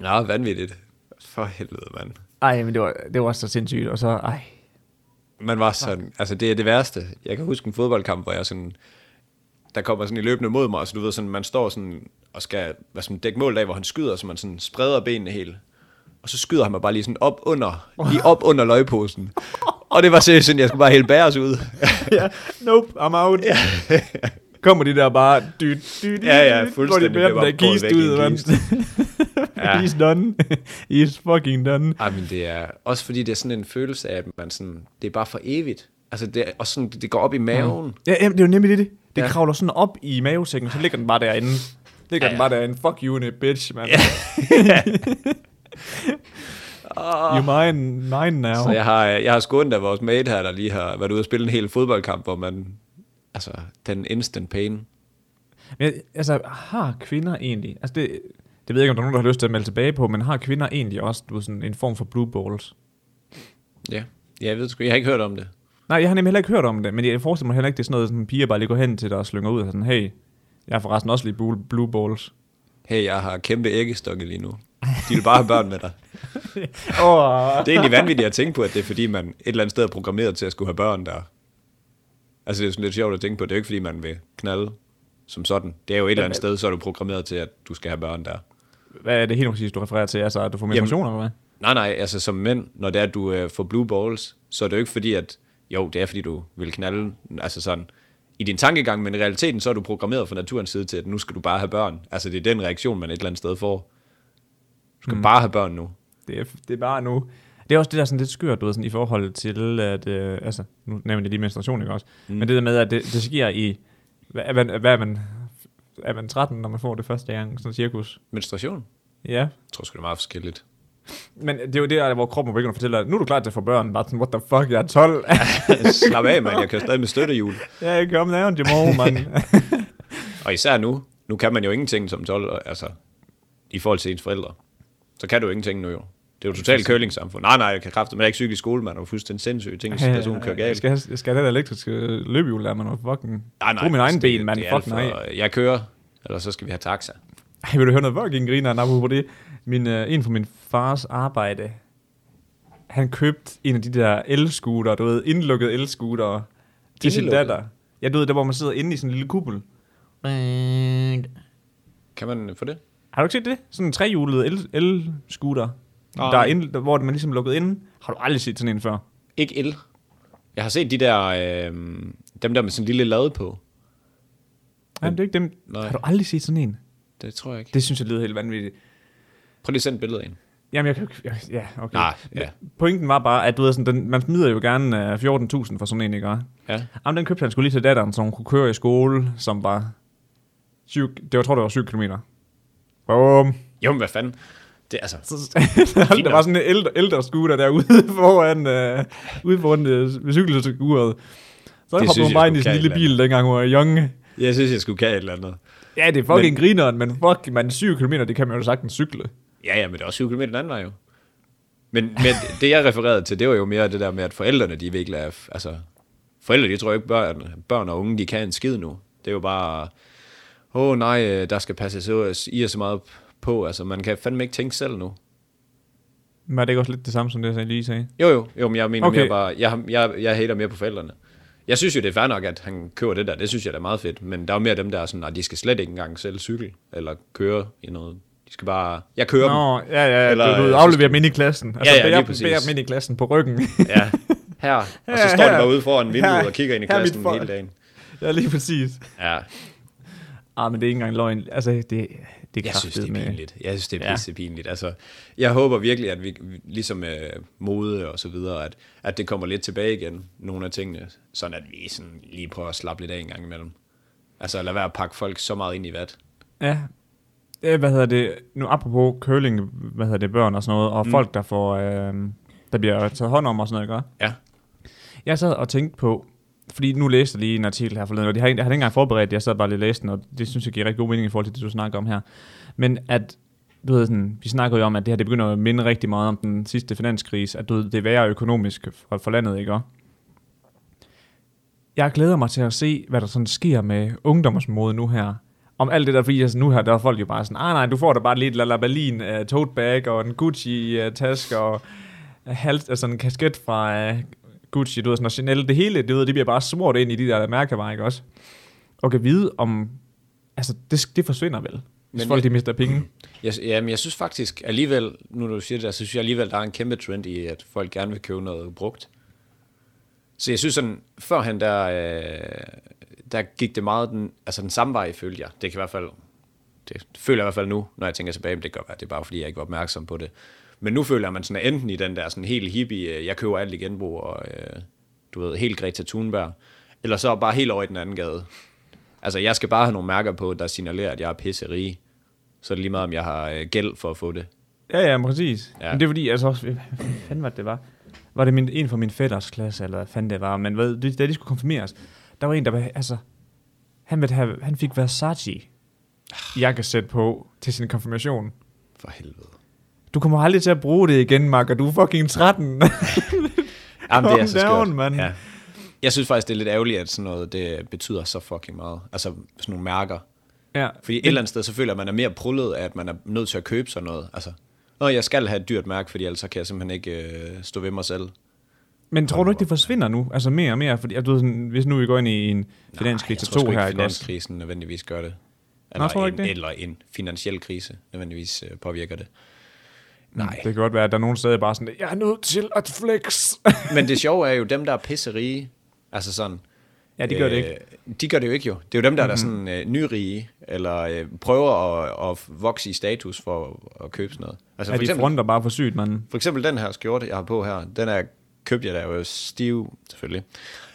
B: Nå, vanvittigt. For helvede, mand.
A: Ej, men det var, det var så sindssygt, og så, ej.
B: Man var sådan, altså det er det værste. Jeg kan huske en fodboldkamp, hvor jeg sådan, der kommer sådan i løbende mod mig, så du ved sådan, man står sådan og skal hvad sådan, dække mål af, hvor han skyder, så man sådan spreder benene helt. Og så skyder han mig bare lige sådan op under, lige op under løgposen. Og det var seriøst sådan, jeg skulle bare helt bæres ud.
A: Ja, nope, I'm out. Ja. Kommer de der bare, dy, dy, dy,
B: Ja, ja,
A: dy, dy,
B: fuldstændig.
A: Går de
B: Det
A: med
B: var
A: den der
B: gået
A: kiste
B: væk i
A: ud,
B: en
A: mand.
B: kiste. Ja.
A: He's done. He's fucking done.
B: Ej, men det er også fordi, det er sådan en følelse af, at man sådan, det er bare for evigt. Altså, det er, og sådan, det går op i maven.
A: Ja, jamen, det er jo nemlig det, det. Det ja.
B: Ja.
A: kravler sådan op i mavesækken, så ligger den bare derinde. Ligger ja, ja. den bare derinde. Fuck you, in it, bitch, man. Ja. you mine, mine now.
B: Så jeg har, jeg har skånet af vores mate her, der lige har været ude og spille en hel fodboldkamp, hvor man, altså, den instant pain.
A: Men, jeg- altså, har kvinder egentlig... Altså, det, det ved jeg ikke, om der er nogen, der har lyst til at melde tilbage på, men har kvinder egentlig også du, ved, sådan en form for blue balls?
B: Ja. ja, jeg ved sgu, jeg har ikke hørt om det.
A: Nej, jeg har nemlig heller ikke hørt om det, men jeg forestiller mig heller ikke, det er sådan noget, sådan piger bare lige går hen til dig og slynger ud og sådan, hey, jeg har forresten også lige blue, blue balls.
B: Hey, jeg har kæmpe æggestokke lige nu. De vil bare have børn med dig.
A: Åh,
B: Det er egentlig vanvittigt at tænke på, at det er fordi, man et eller andet sted er programmeret til at skulle have børn der. Altså, det er sådan lidt sjovt at tænke på. Det er jo ikke fordi, man vil knalde som sådan. Det er jo et eller andet sted, så er du programmeret til, at du skal have børn der.
A: Hvad er det helt præcis, du refererer til? Altså, at du får menstruation, eller hvad?
B: Nej, nej, altså som mænd, når det er, at du øh, får blue balls, så er det jo ikke fordi, at jo, det er fordi, du vil knalde, altså sådan, i din tankegang, men i realiteten, så er du programmeret fra naturens side til, at nu skal du bare have børn. Altså det er den reaktion, man et eller andet sted får. Du skal mm. bare have børn nu.
A: Det er, det er bare nu. Det er også det, der er sådan lidt skørt, du ved, sådan, i forhold til, at, øh, altså, nu nævnte jeg lige menstruation, ikke også? Mm. Men det der med, at det, det sker i, hvad er man, hvad er man, er man 13, når man får det første gang, sådan cirkus?
B: Menstruation?
A: Ja.
B: Jeg tror sgu, det er meget forskelligt.
A: Men det er jo der, hvor kroppen begynder at fortælle dig, nu er du klar til at få børn, bare sådan, what the fuck, jeg er 12.
B: Slap af, mand. Jeg kører stadig med støttehjul.
A: ja, jeg kom nærmere til morgen, mand.
B: Og især nu. Nu kan man jo ingenting som 12, og- altså, i forhold til ens forældre. Så kan du jo ingenting nu jo. Det er jo totalt curling-samfund. Nej, nej, jeg kan kræfte, men jeg er ikke cykle i skole, man. Det er jo fuldstændig sindssygt. Tænk, hvis en person kører
A: jeg
B: galt.
A: skal, have- jeg skal have den elektriske løbehjul, der man og fucking... Brug min
B: altså,
A: egen
B: det-
A: ben, mand.
B: det er
A: Fuck
B: alt
A: nej.
B: for- Jeg kører, eller så skal vi have taxa.
A: Ej, vil du høre noget fucking griner, apropos det? Min, øh, en fra min fars arbejde, han købte en af de der elskuter, du ved, indlukkede elskuter til sin
B: Indlukket?
A: datter. Ja, du ved, der hvor man sidder inde i sådan en lille kuppel.
B: Kan man få det?
A: Har du ikke set det? Sådan en trehjulet el- elskuter,
B: Nej.
A: der er ind, hvor man ligesom er lukket inde. Har du aldrig set sådan en før?
B: Ikke el. Jeg har set de der, øh, dem der med sådan en lille lade på.
A: Nej, det er ikke dem.
B: Nej.
A: Har du aldrig set sådan en?
B: Det tror jeg ikke.
A: Det synes jeg lyder helt vanvittigt.
B: Prøv lige at sende et billede ind.
A: Jamen, jeg kan jo ikke- jeg- Ja, okay.
B: Nej, ja.
A: Pointen var bare, at du ved, sådan, den, man smider jo gerne øh, 14.000 for sådan en, ikke? også?
B: Ja.
A: Jamen, den købte han skulle lige til datteren, så hun kunne køre i skole, som var... Syv, det var, tror, det var 7 km. Bum.
B: Jo, men hvad fanden? Det er altså...
A: Så, der var sådan en ældre, ældre scooter derude foran, øh, ude foran øh, cykelskuret. Så
B: Det
A: hoppede
B: synes
A: hun
B: jeg
A: bare
B: skulle
A: ind i sin
B: kan
A: lille
B: et eller
A: bil, dengang hun var young.
B: Jeg synes, jeg skulle kan et eller andet.
A: Ja, det er fucking men, grineren, men fuck, man, 7 km, det kan man jo sagtens cykle.
B: Ja, ja, men det er også 7 km den anden vej jo. Men, men det, jeg refererede til, det var jo mere det der med, at forældrene, de virkelig er... Altså, forældre, de tror jo ikke, børn, børn og unge, de kan en skid nu. Det er jo bare... Åh oh, nej, øh, der skal passes så- i og så meget på. Altså, man kan fandme ikke tænke selv nu.
A: Men er det ikke også lidt det samme, som det, jeg lige sagde?
B: Jo, jo, jo, men jeg mener
A: Okay.
B: okay. mere bare, jeg, jeg, jeg hater mere på forældrene. Jeg synes jo, det er fair nok, at han køber det der. Det synes jeg, det er meget fedt. Men der er jo mere dem, der er sådan, nej, de skal slet ikke engang selv cykle eller køre i noget. De skal bare... Jeg kører dem.
A: Nå, ja, ja, Eller,
B: Eller,
A: du, du
B: øh,
A: afleverer dem ind i klassen. Altså,
B: ja, lige
A: bærer,
B: præcis.
A: bærer dem ind i klassen på ryggen.
B: Ja, her. Og
A: Her,
B: så står
A: her.
B: de bare ude foran vinduet
A: Her,
B: og kigger ind i
A: her er mit
B: klassen
A: folk.
B: hele dagen.
A: ja, lige præcis.
B: Ja,
A: Ah, men det er ikke engang løgn. Altså, det, Det er
B: Jeg synes, det er
A: kraftedeme-
B: pinligt. Jeg synes, det er
A: Ja.
B: pisse pinligt. Altså, jeg håber virkelig, at vi, vi- ligesom øh, mode og så videre, at, at det kommer lidt tilbage igen, nogle af tingene, sådan at vi sådan lige prøver at slappe lidt af en gang imellem. Altså, lad være at pakke folk så meget ind i vat.
A: Ja. Øh, Hvad hedder det? Nu apropos curling, hvad hedder det, børn og sådan noget, og mm. folk, der får, øh, der bliver taget hånd om og sådan noget, ikke?
B: Ja.
A: Jeg sad og tænkte på, fordi nu læste jeg lige en artikel her forleden, og det har jeg, jeg har ikke engang forberedt, det, jeg sad bare lige og læste den, og det synes jeg giver rigtig god mening i forhold til det, du snakker om her. Men at, du ved sådan, vi snakker jo om, at det her det begynder at minde rigtig meget om den sidste finanskrise, at du ved, det er værre økonomisk for, for landet, ikke også? Jeg glæder mig til at se, hvad der sådan sker med ungdomsmode nu her. Om alt det der, fordi altså, nu her, der er folk jo bare sådan, ah nej, du får da bare lige et Lala Berlin uh, tote bag og en Gucci-taske og hals, altså en kasket fra uh, Gucci, du ved, sådan, og Chanel, det hele, det, ved, det bliver bare smurt ind i de der mærkevarer, ikke også? Og kan vide om, altså det, det forsvinder vel, hvis
B: Men
A: Men folk de
B: jeg-
A: mister penge.
B: Jeg, jamen, jeg synes faktisk alligevel, nu når du siger det der, så synes jeg alligevel, der er en kæmpe trend i, at folk gerne vil købe noget brugt. Så jeg synes sådan, førhen der, øh, der gik det meget den, altså den samme vej, følte jeg. Det kan i hvert fald, det føler jeg i hvert fald nu, når jeg tænker tilbage, men det kan godt være, det er bare fordi, jeg ikke var opmærksom på det. Men nu føler man sådan, at enten i den der sådan helt hippie, øh, jeg køber alt i genbrug, og øh, du ved, helt Greta Thunberg, eller så bare helt over i den anden gade. Altså, jeg skal bare have nogle mærker på, der signalerer, at jeg er pisserige. Så er det lige meget, om jeg har øh, gæld for at få det.
A: Ja, ja, men præcis.
B: Ja.
A: Ja. Men det er fordi, altså også, hvad fanden var det, det var? Var det min, en fra min fætters klasse, eller hvad fanden det var? Men hvad, det, da de skulle konfirmeres, der var en, der var, altså, han, ville have, han fik Versace jakkesæt på til sin konfirmation.
B: For helvede.
A: Du kommer aldrig til at bruge det igen, Mark, og du er fucking 13.
B: Jamen, det er
A: Calm
B: så
A: down,
B: skørt.
A: mand.
B: Ja. Jeg synes faktisk, det er lidt ærgerligt, at sådan noget det betyder så fucking meget. Altså sådan nogle mærker.
A: ja.
B: Fordi et eller andet sted, så føler jeg, at man er mere prullet af, at man er nødt til at købe sådan noget. Altså, Nå, jeg skal have et dyrt mærke, fordi ellers så kan jeg simpelthen ikke øh, stå ved mig selv.
A: Men tror du ikke, det forsvinder nu? Altså mere og mere? Fordi, altså, du ved, sådan, hvis nu vi går ind i en finanskrise
B: Nej, jeg
A: 2
B: tror
A: her,
B: sgu ikke,
A: ikke også?
B: finanskrisen nødvendigvis gør det.
A: Nå,
B: Eller,
A: tror du
B: en,
A: ikke det?
B: eller en finansiel krise nødvendigvis øh, påvirker det. Nej.
A: Mm, Det kan godt være, at der er nogen steder bare sådan, jeg er nødt til at flex.
B: Men det sjove er jo, dem der er pisserige, altså sådan...
A: ja, det gør det ikke. Mhm.
B: Øh, de gør det jo ikke jo. Det er jo dem, der mm-hmm. er der sådan øh, nyrige, eller øh, prøver at, at vokse i status for at, at købe sådan noget. Altså
A: Ja,
B: for,
A: de
B: eksempel,
A: fronter bare for sygt, mand.
B: for eksempel den her skjorte, jeg har på her, den er købte jeg da jeg var stiv, selvfølgelig,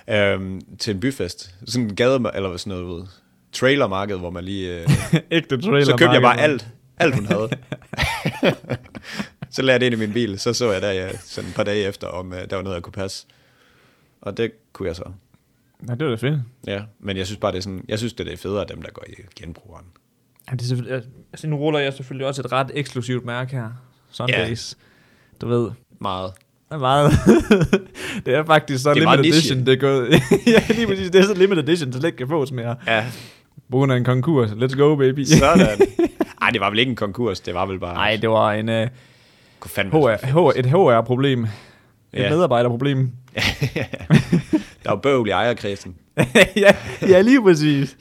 B: øhm, til en byfest. Sådan en gade, eller sådan noget, du ved, trailermarked, hvor man lige... Øh,
A: Ægte trailer.
B: så købte jeg bare alt, alt hun havde. så lagde jeg det ind i min bil, så så jeg der ja, sådan et par dage efter, om øh, der var noget, jeg kunne passe. Og det kunne jeg så.
A: Ja, det var da fedt.
B: Ja, men jeg synes bare, det er sådan, jeg synes, det er federe, dem der går i genbrugeren.
A: Ja, det er selvfølgelig, altså, nu ruller jeg selvfølgelig også et ret eksklusivt mærke her. Sundays. Ja. Du ved.
B: Meget.
A: Der er meget. det er faktisk så
B: Det er
A: limited
B: meget niche.
A: edition. Det er gået. ja, lige præcis. Det er så limited edition, så det ikke kan fås mere.
B: Ja,
A: På grund af en konkurs. Let's go, baby.
B: sådan. Ej, det var vel ikke en konkurs, det var vel bare...
A: Nej, det var en, uh,
B: kunne fandme
A: HR, HR, et HR-problem. Et
B: Ja.
A: medarbejderproblem.
B: Der var bøvl i ejerkredsen.
A: ja, ja, lige præcis.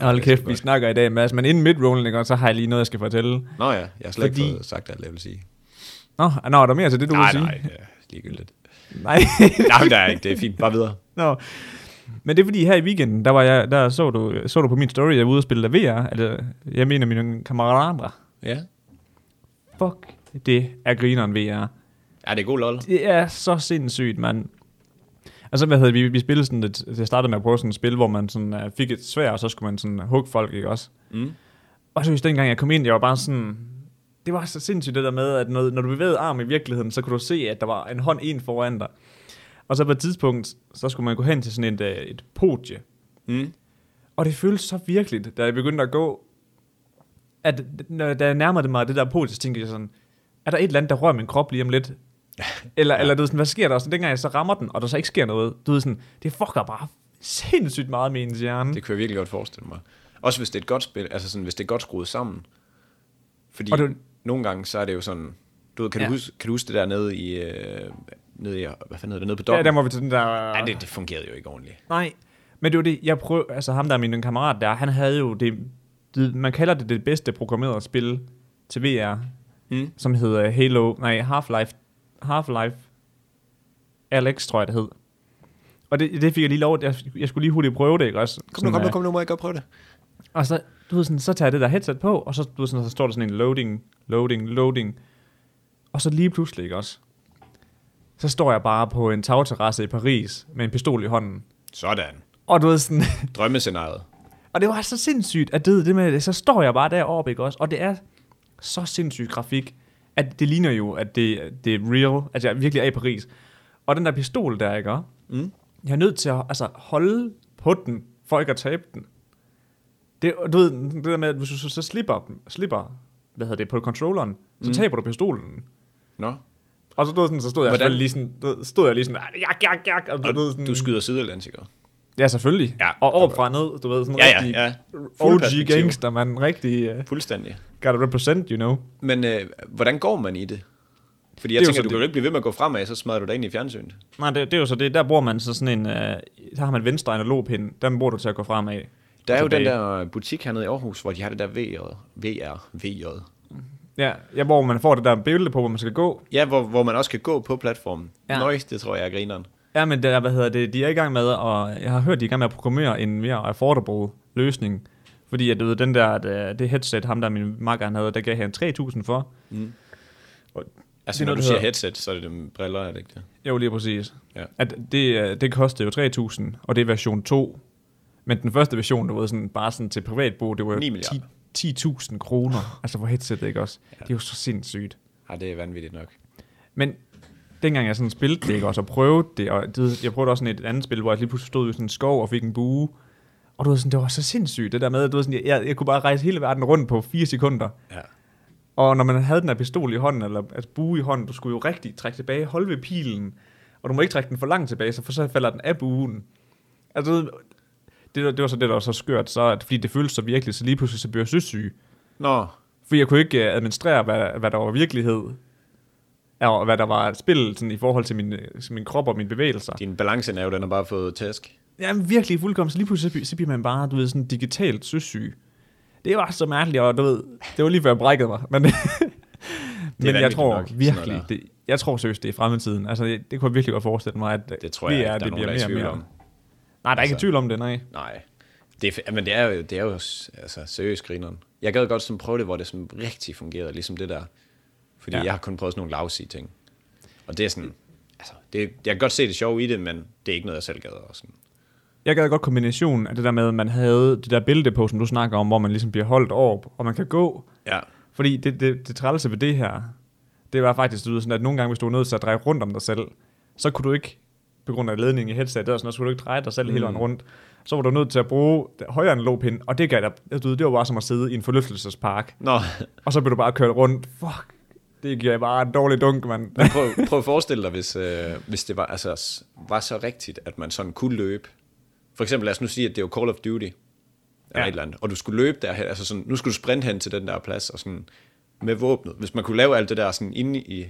A: Hold
B: det er
A: kæft,
B: sgu
A: vi
B: godt.
A: snakker i dag, Mads. Men inden midrollen, ikke, så har jeg lige noget, jeg skal fortælle.
B: Nå ja, jeg har slet Fordi...
A: Fordi-
B: ikke fået sagt alt, jeg vil sige.
A: Nå, nå er der mere til det, du vil
B: nej,
A: sige?
B: nej, ja, ligegyldigt.
A: nej.
B: nej, men der er ikke, det er fint. Bare videre.
A: Nå. Men det er fordi her i weekenden, der, var jeg, der så, du, så du på min story, jeg var ude og spille der VR. Altså, jeg mener mine kammerater.
B: Ja.
A: Fuck, det er grineren VR.
B: Ja, det er god lol.
A: Det er så sindssygt, mand. Og så, hvad hedder det, vi, vi spillede sådan lidt, jeg startede med at prøve sådan et spil, hvor man sådan, uh, fik et svær, og så skulle man sådan hugge folk, ikke også?
B: Mm.
A: Og så dengang jeg kom ind, jeg var bare sådan... Det var så sindssygt det der med, at når, når du bevægede armen i virkeligheden, så kunne du se, at der var en hånd en foran dig. Og så på et tidspunkt, så skulle man gå hen til sådan et, øh, et podie.
B: Mm.
A: Og det føltes så virkeligt, da jeg begyndte at gå, at når, da jeg nærmede mig det der podie, så tænkte jeg sådan, er der et eller andet, der rører min krop lige om lidt? Eller, ja. eller du ved sådan, hvad sker der? Og så dengang jeg så rammer den, og der så ikke sker noget, du ved sådan, det fucker bare sindssygt meget med ens hjerne.
B: Det kunne jeg virkelig godt forestille mig. Også hvis det er et godt spil, altså sådan, hvis det er godt skruet sammen. Fordi
A: Og
B: og
A: det-
B: det... nogle gange, så er det jo sådan, du ved, kan,
A: Ja.
B: du huske, kan du huske det der nede i, øh, nede i, hvad fanden hedder det, nede på
A: ja,
B: dokken?
A: der må vi til den der...
B: Ej, det, det fungerede jo ikke ordentligt.
A: Nej, men det var det, jeg prøv, altså ham der er min kammerat der, han havde jo det, det man kalder det det bedste programmerede spil til VR,
B: Mm.
A: som hedder Halo, nej, Half-Life, Half-Life Alex, tror jeg det hed. Og det, det fik jeg lige lov, jeg, jeg skulle lige hurtigt prøve det, ikke også?
B: Kom nu, kom nu,
A: øh,
B: kom nu, må jeg godt prøve det.
A: Og så, du ved sådan, så tager jeg det der headset på, og så, du ved sådan, så står der sådan en loading, loading, loading. Og så lige pludselig, ikke også? Så står jeg bare på en tagterrasse i Paris med en pistol i hånden.
B: Sådan.
A: Og du ved sådan,
B: Drømmescenariet.
A: og det var så sindssygt, at det, det med det, så står jeg bare deroppe, ikke også? Og det er så sindssyg grafik, at det ligner jo, at det, det er real, altså jeg virkelig er i Paris. Og den der pistol der, ikke også?
B: Mm.
A: Jeg er nødt til at altså, holde på den, for ikke at tabe den. Det, og du ved, det der med, at hvis du så, så slipper, den- slipper hvad hedder det, på controlleren,
B: Mm.
A: så taber du pistolen.
B: Nå.
A: Og så, du ved, sådan, så stod jeg
B: Hvordan-
A: selvfølgelig lige sådan, du ved, stod jeg lige sådan, "Ah, jak, jak, jak, og, du,
B: Og
A: ved, sådan,
B: du skyder sideatlantikere.
A: ja, selvfølgelig.
B: Ja.
A: og op fra ned, du ved, sådan
B: Ja, ja,
A: rigtig
B: ja. Fuld
A: OG
B: perspektiv.
A: gangster, man, rigtig uh,
B: Fuldstændig.
A: gotta represent, you know.
B: Men øh, hvordan går man i det? Fordi jeg
A: Det er jo
B: det tænker,
A: så
B: du
A: det.
B: kan jo ikke blive ved med at gå fremad, så smadrer du dig ind i fjernsynet.
A: Nej, det, det er jo så det, der bruger man så sådan en, uh, der har man venstre analogpind, den bruger du til at gå fremad. Altså,
B: Der er
A: og
B: jo den
A: tilbage.
B: der butik hernede i Aarhus, hvor de har det der VR, VR, VJ.
A: Ja, ja, hvor man får det der billede på, hvor man skal gå,
B: Ja, hvor, hvor man også kan gå på platformen. Ja.
A: Ja.
B: Nøj, det tror jeg er grineren.
A: Ja, men det er, hvad hedder det, de er i gang med, og jeg har hørt, de er i gang med at programmere en mere affordable løsning. Fordi at, du ved, den der, at, øh, det headset, ham der min makker han havde, der gav han 3.000 for.
B: Altså,
A: Det er
B: når
A: noget,
B: du
A: der
B: siger
A: hedder-
B: headset, så er det dem briller, er det ikke det?
A: Jo, lige præcis.
B: Ja.
A: At det, øh, det kostede jo 3.000, og det er version 2. Men den første version, du ved, sådan, bare sådan til privatbrug, det var jo
B: 9
A: 10
B: milliarder.
A: 10.000 kroner, altså for headset, ikke også? Ja. Det er jo så sindssygt.
B: Ja, det er vanvittigt nok.
A: Men dengang jeg sådan spillede det, ikke også, og prøvede det, og det, jeg prøvede også sådan et andet spil, hvor jeg lige pludselig stod i sådan en skov og fik en bue, og du ved sådan, det var så sindssygt, det der med, at du ved sådan, jeg, jeg kunne bare rejse hele verden rundt på fire sekunder,
B: Ja.
A: og når man havde den her pistol i hånden, eller altså bue i hånden, du skulle jo rigtig trække tilbage, holde ved pilen, og du må ikke trække den for langt tilbage, så for så falder den af buen. Altså, du ved, det, var- det var så det, der var så skørt, så, at, fordi det føltes så virkelig, så lige pludselig så blev jeg søsyg.
B: Nå,
A: Fordi jeg kunne ikke øh, administrere, hvad, hvad der var virkelighed, og hvad der var et spil sådan, i forhold til min, øh, til min krop og mine bevægelser.
B: din balancenerve, den har bare fået tæsk.
A: Jamen virkelig fuldkommen, så lige pludselig så bliver- så bliver man bare, du ved, sådan digitalt søsyg. Det var så mærkeligt, og du ved, det var lige før jeg brækkede mig, men, men jeg
B: vanvittigt
A: tror
B: nok, sådan noget
A: virkelig,
B: der.
A: det, jeg tror seriøst, det er fremtiden. Altså, det, det kunne jeg virkelig godt forestille mig, at
B: Det tror jeg,
A: VR,
B: at der er nogen, der er i tvivl om.
A: Nej, der er ikke
B: Altså-
A: tvivl om det, nej.
B: Nej. Det er, men det er jo, det er jo s- altså, seriøst grineren. Jeg gad godt sådan prøve det, hvor det sådan rigtig fungerede, ligesom det der. Fordi ja.
A: Ja.
B: jeg har kun prøvet sådan nogle lavsige ting. Og det er sådan, altså, det, jeg kan godt se det sjove i det, men det er ikke noget, jeg selv gad. Og sådan.
A: Jeg gad godt kombinationen af det der med, at man havde det der bælte på, som du snakker om, hvor man ligesom bliver holdt over, og man kan gå,
B: Ja.
A: Fordi det, det, det trælse ved det her, det var faktisk det lyder sådan, at nogle gange, hvis du var nødt til at dreje rundt om dig selv, så kunne du ikke, på grund af ledningen i headsetet, og sådan noget, så kunne du ikke dreje dig selv mm. hele vejen rundt. Så var du nødt til at bruge den højre analogpind, og det gav dig, altså, du ved, det var bare som at sidde i en forlystelsespark,
B: Nå,
A: og så blev du bare kørt rundt. Fuck, det giver bare en dårlig dunk, mand.
B: prøv, prøv at forestille dig, hvis, øh, hvis det var, altså, s- var så rigtigt, at man sådan kunne løbe. For eksempel, lad os nu sige, at det var Call of Duty, eller ja.
A: Ja.
B: et eller andet, og du skulle løbe derhen, altså sådan, nu skulle du sprinte hen til den der plads, og sådan med våbnet. Hvis man kunne lave alt det der sådan inde i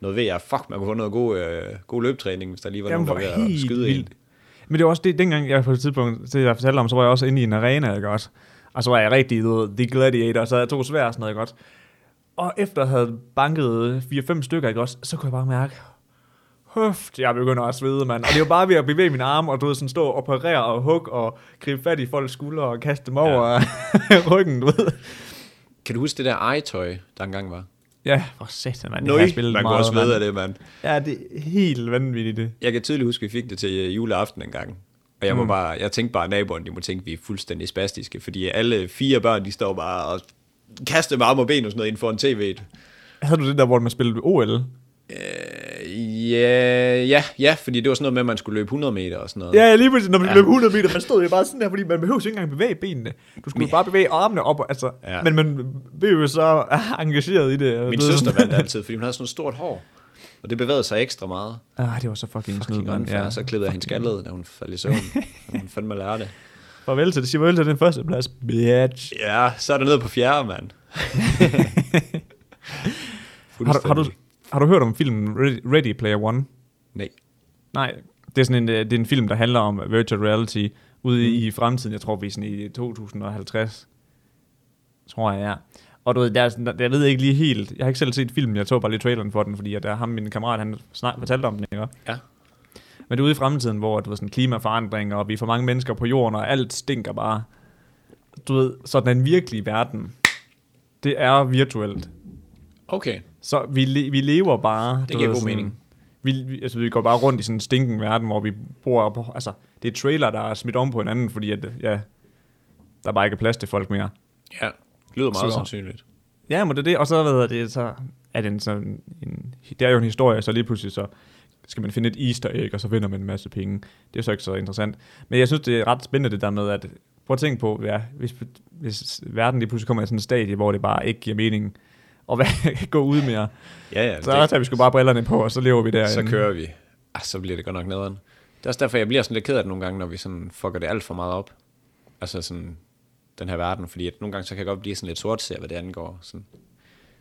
B: noget VR, fuck, man kunne få noget god, øh, god løbetræning, hvis der lige var
A: Jamen,
B: nogen, der
A: hvor
B: var ved at
A: helt
B: skyde
A: vildt.
B: en.
A: Men det var også det, dengang jeg på et tidspunkt, det jeg fortalte om, så var jeg også inde i en arena, ikke også? Og så var jeg rigtig, du ved, the gladiator, så havde jeg to svær og sådan noget, ikke også? Og efter at have banket 4-5 stykker, ikke også, så kunne jeg bare mærke, høft, jeg begynder at svede, mand. Og det var bare ved at bevæge min arm, og du ved, sådan stå og operere og hugge og gribe fat i folks skuldre og kaste dem over ryggen, du ved.
B: Kan du huske det der egetøj, der engang var?
A: Ja, for satan, mand.
B: Nøj,
A: jeg har
B: man
A: spillet
B: kunne
A: meget,
B: også ved af
A: mand.
B: det, mand.
A: Ja, det er helt vanvittigt, det.
B: Jeg kan tydeligt huske, at vi fik det til øh, juleaften en gang. Og
A: Mm.
B: jeg, må bare, jeg tænkte bare, at naboerne de må tænke, at vi er fuldstændig spastiske, fordi alle fire børn, de står bare og kaster med arm og ben og sådan noget inden for en tv.
A: Havde du det der, hvor man spillede OL?
B: Øh, ja, ja, ja, fordi det var sådan noget med, at man skulle løbe 100 meter og sådan noget.
A: Ja, ja, lige præcis, når man ja. løb 100 meter, man stod jo bare sådan her, fordi man behøver ikke engang bevæge benene. Du skulle jo bare bevæge armene op, altså,
B: Ja.
A: ja. men man blev jo så ah, engageret i det. og
B: Min
A: du ved
B: søster
A: sådan-
B: vandt altid, fordi hun havde sådan noget stort hår. Og det bevægede sig ekstra meget.
A: Ah, det var så fucking,
B: Fucking
A: fucking snyd,
B: unfair.
A: ja.
B: Så klippede jeg hendes skaldede, da hun faldt i søvn. Så hun fandme lærer det.
A: Farvel til det, siger farvel til den første plads. Bitch.
B: Ja, så er det nede på fjerde, mand.
A: Har du, har, du,
B: Fuldstændig.
A: har du hørt om filmen Ready- Ready Player One?
B: Nej.
A: Nej, det er sådan en, øh, det er en film, der handler om virtual reality ude mm. i fremtiden. Jeg tror, vi er sådan i 2050. Tror jeg, ja. Og du ved, der er sådan, der, jeg ved ikke lige helt. Jeg har ikke selv set filmen, jeg så bare lige traileren for den, fordi at der er ham, min kammerat, han snak, fortalte om den, ikke?
B: Ja.
A: Men det er ude i fremtiden, hvor du ved, sådan, klimaforandringer, og vi er for mange mennesker på jorden, og alt stinker bare. du ved, sådan den virkelige verden, det er virtuelt.
B: Okay.
A: Så vi, le, vi lever bare...
B: giver god
A: sådan,
B: mening.
A: Vi, vi- altså, vi går bare rundt i sådan en stinken verden, hvor vi bor på... Altså, det er trailer, der er smidt om på hinanden, fordi at, ja, der bare ikke er plads til folk mere.
B: Ja. Lyder meget
A: Så-
B: så. sandsynligt.
A: Ja, men det er det. Og så, hvad hedder det, så er det en sådan... En, det er jo en historie, så lige pludselig så skal man finde et easter egg, og så vinder man en masse penge. Det er så ikke så interessant. Men jeg synes, det er ret spændende det der med, at prøv at tænke på, ja, hvis, hvis verden lige pludselig kommer i sådan en stadie, hvor det bare ikke giver mening at være- gå ud mere.
B: Ja, ja.
A: Så
B: Altså, det-
A: det... tager vi sgu bare brillerne på, og så lever vi derinde.
B: så kører vi. Ah, så bliver det godt nok nederen. Det er også derfor, jeg bliver sådan lidt ked af det nogle gange, når vi sådan fucker det alt for meget op. Altså sådan den her verden, fordi at nogle gange så kan jeg godt blive sådan lidt sort hvad det angår. Sådan,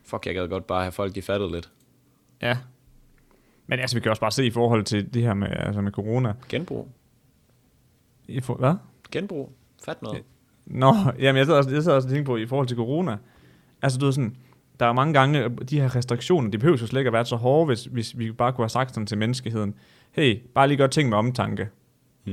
B: fuck, jeg gad godt bare have folk, de fattede lidt.
A: Ja. Men altså, vi kan også bare se i forhold til det her med, altså med corona.
B: Genbrug.
A: I for, hvad?
B: Genbrug. Fat noget.
A: Nå, jamen jeg sad også, jeg sad også og tænkte på i forhold til corona. Altså du ved sådan, der er mange gange, at de her restriktioner, de behøver jo slet ikke at være så hårde, hvis, hvis vi bare kunne have sagt sådan til menneskeheden, hey, bare lige gør ting med omtanke.
B: Ja.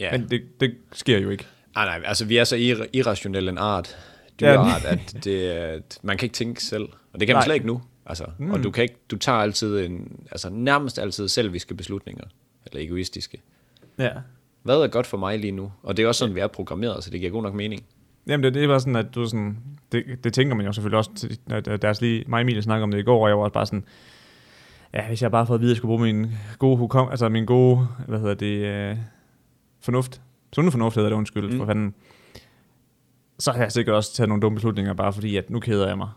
A: Ja. Men det, det sker jo ikke.
B: Ah, nej, altså vi er så ir- irrationelle en art, dyreart, at det, er- at man kan ikke tænke selv. Og det kan man
A: Nej.
B: slet ikke nu. Altså, mm. Og du, kan ikke, du tager altid en, altså nærmest altid selviske beslutninger, eller egoistiske.
A: Ja.
B: Hvad er godt for mig lige nu? Og det er også sådan, vi er programmeret, så det giver god nok mening.
A: Jamen det, det er bare sådan, at du er sådan, det, det tænker man jo selvfølgelig også, til, at at deres lige, mig og Emilie snakkede om det i går, og jeg var også bare sådan, ja, hvis jeg bare havde fået at vide, at jeg skulle bruge min gode hukom, altså min gode, hvad hedder det, øh, fornuft, sunde fornuft hedder det, undskyld, mm. for fanden, så har jeg sikkert også taget nogle dumme beslutninger, bare fordi, at nu keder jeg mig.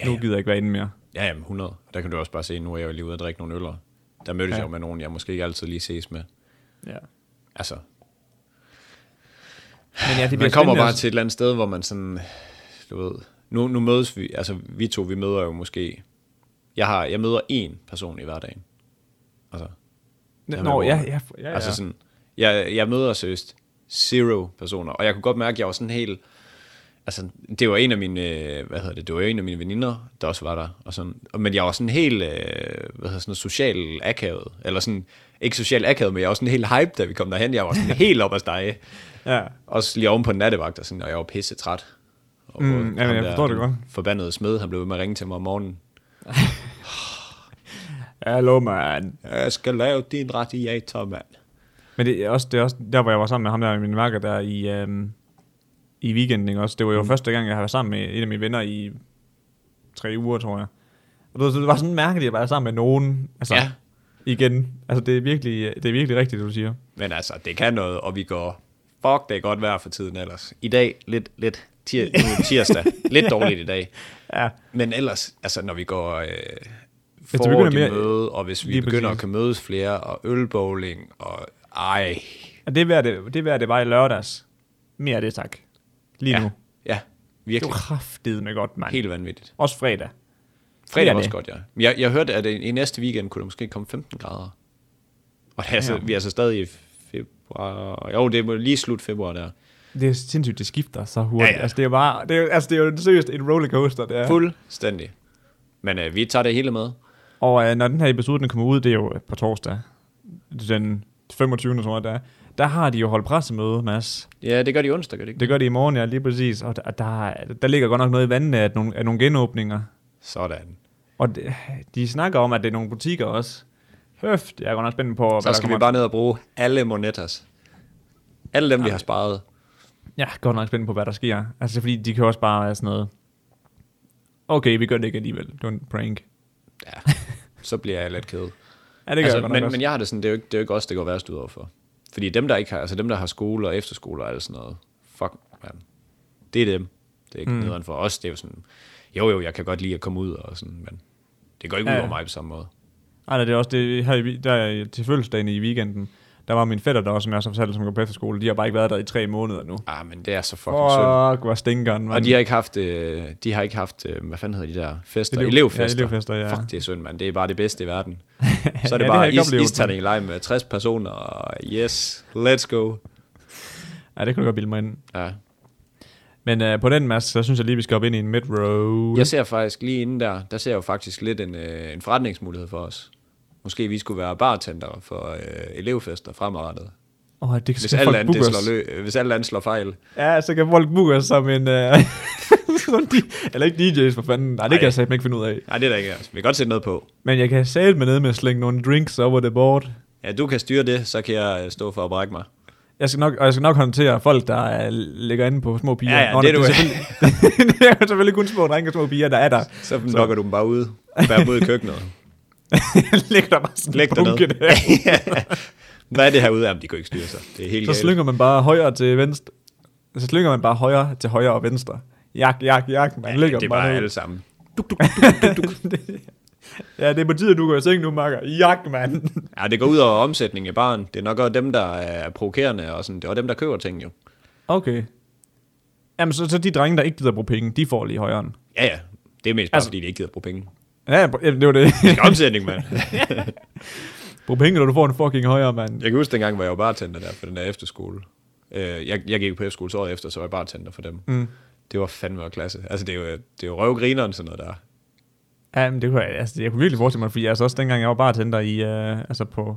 A: Ja, nu
B: ja.
A: gider jeg ikke være inde mere.
B: Ja, jamen 100. Og der kan du også bare se, nu er jeg jo lige ude og drikke nogle øller. Der mødtes
A: Ja.
B: ja. jeg jo med nogen, jeg måske ikke altid lige ses med.
A: Ja.
B: Altså,
A: Men ja, det
B: man kommer bare til et eller andet sted, hvor man sådan, du ved, nu, nu mødes vi, altså vi to, vi møder jo måske, jeg, har, jeg møder én person i hverdagen. Altså,
A: Nå,
B: Ja,
A: Nå,
B: man
A: ja,
B: må-
A: ja, ja, ja.
B: Altså sådan, jeg, jeg møder seriøst zero personer, og jeg kunne godt mærke, at jeg var sådan helt, altså det var en af mine, øh, hvad hedder det, det var jo en af mine veninder, der også var der, og sådan, og- men jeg var sådan helt, øh, hvad hedder sådan noget, social akavet, eller sådan, ikke social akavet, men jeg var sådan helt hype, da vi kom derhen, jeg var sådan helt op at stege,
A: ja.
B: også lige oven på en nattevagt, og, sådan, og jeg var pisse træt. Og
A: Mm,
B: både
A: jamen,
B: ham
A: jeg forstår det
B: den
A: godt.
B: Forbandede smed, han blev ved med at ringe til mig om morgenen.
A: Hallo, man.
B: Jeg skal lave din radiator, mand.
A: Men det er, også, det er også der, hvor jeg var sammen med ham der, min makker der i, øhm, i weekenden, ikke også? Det var jo mm. første gang, jeg har været sammen med en af mine venner i tre uger, tror jeg. Og du ved, så det var sådan mærkeligt at være sammen med nogen, altså ja.
B: Ja.
A: igen. Altså det er, virkelig, det er virkelig rigtigt, det du siger.
B: Men altså, det kan noget, og vi går... Fuck, det er godt vejr for tiden ellers. I dag, lidt, lidt tir, nu er det tirsdag. Lidt dårligt i dag.
A: Ja.
B: Men ellers, altså når vi går øh,
A: det
B: for
A: begynder
B: det
A: mere-
B: møde, og hvis vi
A: Lige
B: begynder
A: præcis.
B: at kan mødes flere, og ølbowling, og ej.
A: Og det er værd det, det, er værd, det var i lørdags. Mere af det, tak. Lige ja.
B: Ja,
A: nu.
B: ja
A: Det
B: virkelig.
A: var kraftedet med godt, mand. Helt.
B: Helt vanvittigt.
A: Også fredag.
B: Fredag
A: Bliver
B: var også
A: det?
B: godt, ja. Men Jeg, jeg hørte, at i i næste weekend kunne der måske komme 15 grader. Og det er altså,
A: Ja.
B: vi er så stadig i februar. Jo, det er lige slut februar der.
A: Det er sindssygt, det skifter så hurtigt. Ja,
B: Ja,
A: ja.
B: ja.
A: Altså, det er jo bare, det er, jo- altså, det er jo seriøst en rollercoaster, det er.
B: Fuldstændig. Men øh, vi tager det hele med.
A: Og øh, når den her episode den kommer ud, det er jo øh, på torsdag, den 25. tror jeg det er, der har de jo holdt pressemøde, Mads.
B: Ja, det gør de onsdag, gør det ikke?
A: Det gør de i morgen, ja, lige præcis. Og der, der, der ligger godt nok noget i vandene af nogle, af nogle genåbninger.
B: Sådan.
A: Og de, de snakker om, at det er nogle butikker også. Høft, jeg er godt nok spændt på,
B: Så skal vi bare ned og bruge alle monetas. Alle dem, vi har sparet.
A: Jeg er godt nok spændt på, hvad der sker. Altså, fordi de kan også bare være sådan noget... Okay, vi gør det ikke alligevel. Det var en prank.
B: Ja, så bliver jeg lidt ked.
A: Ja, det gør altså, jeg
B: Altså,
A: godt nok
B: men,
A: også.
B: men jeg har det sådan, det er jo ikke, det er jo ikke os, det går værst ud overfor. Fordi dem, der ikke har, altså dem, der har skole og efterskole og alt sådan noget, fuck, man. Det er dem. Det er ikke mm. nederen for os. Det er jo sådan, jo jo, jeg kan godt lide at komme ud og sådan, men det går ikke ja.
A: Ja.
B: ud over mig på samme måde.
A: Ej, nej, det er også det, her i, der, er- til fødselsdagen i weekenden, der var min fætter der også, som jeg også har fortalt, som går på efterskole. De har bare ikke været der i tre måneder nu.
B: Ah, men det er så fucking oh. synd.
A: Fuck, hvor stinker den,
B: Og
A: mand.
B: de har ikke haft, øh, de har ikke haft, øh, hvad fanden hedder de der fester?
A: Elev-
B: Elev, elevfester.
A: ja, elevfester, ja.
B: Fuck, det er synd, mand. Det er bare det bedste i verden. Så
A: Ja,
B: er
A: det
B: det
A: har jeg
B: bare
A: ikke
B: is,
A: oplevet,
B: isterning i leg med 60 personer, og yes, let's go.
A: Ja, det kunne du godt bilde mig ind.
B: Ja.
A: Men øh, på den, Mads, så synes jeg lige, vi skal op ind i en mid-row.
B: Jeg ser faktisk lige inden der, der ser jeg jo faktisk lidt en, øh, en forretningsmulighed for os. Måske vi skulle være bartender for øh, elevfester fremadrettet.
A: Åh, oh, det kan
B: Hvis
A: skal
B: alt
A: folk
B: andet, det
A: booke
B: slår,
A: os.
B: lø- øh, hvis alt andet slår fejl.
A: Ja, så kan folk booke os som en... Uh, eller ikke DJ's, for fanden. Nej, det
B: Ej.
A: kan jeg satme ikke finde ud af.
B: Nej, det er der ikke. Altså. Vi kan godt sætte noget på.
A: Men jeg kan satme ned med at slænge nogle drinks over det board.
B: Ja, du kan styre det, så kan jeg øh, stå for at brække mig.
A: Jeg skal nok, og jeg skal nok håndtere folk, der øh, ligger inde på små piger.
B: Ja, ja, det
A: nej,
B: er du-
A: selvfølgelig, det er jo selvfølgelig kun små drenge og små piger, der er der.
B: Så knokker du dem bare ud. Bare dem ud i køkkenet.
A: ligger der bare sådan
B: Læg
A: Læg
B: dig ned.
A: bunke der.
B: Hvad er det herude? Jamen, de kunne ikke styre sig. Det er helt
A: Så
B: galt.
A: slynger man bare højre til venstre. Så slynger man bare højre til højre og venstre. Jak, jak, jak. Man
B: Ja,
A: ligger
B: det er
A: dem bare
B: bare
A: ned.
B: alle sammen.
A: Ja, det er på tide, at du går i seng nu, makker. Jak, mand.
B: Ja, det går ud over omsætningen i baren. Det er nok også dem, der er provokerende, og sådan. det er også dem, der køber ting jo.
A: Okay. Jamen, så, så de drenge, der ikke gider bruge penge, de får lige højeren.
B: Ja, ja. Det er mest bare, altså,
A: Altså-
B: fordi de ikke gider bruge penge.
A: Ja, ja, det var det.
B: Det er omsætning, mand.
A: Brug penge, når du får en fucking højere, mand.
B: Jeg kan huske dengang, hvor jeg var bartender der på den der efterskole. Øh, jeg, jeg gik på efterskole så året efter, så var jeg bartender for dem. Mm. Det var fandme også klasse. Altså, det er jo, det er jo røvgrineren, sådan noget der.
A: Ja, men det kunne jeg, altså, jeg kunne virkelig forestille mig, fordi altså også dengang jeg var bartender i, øh, altså på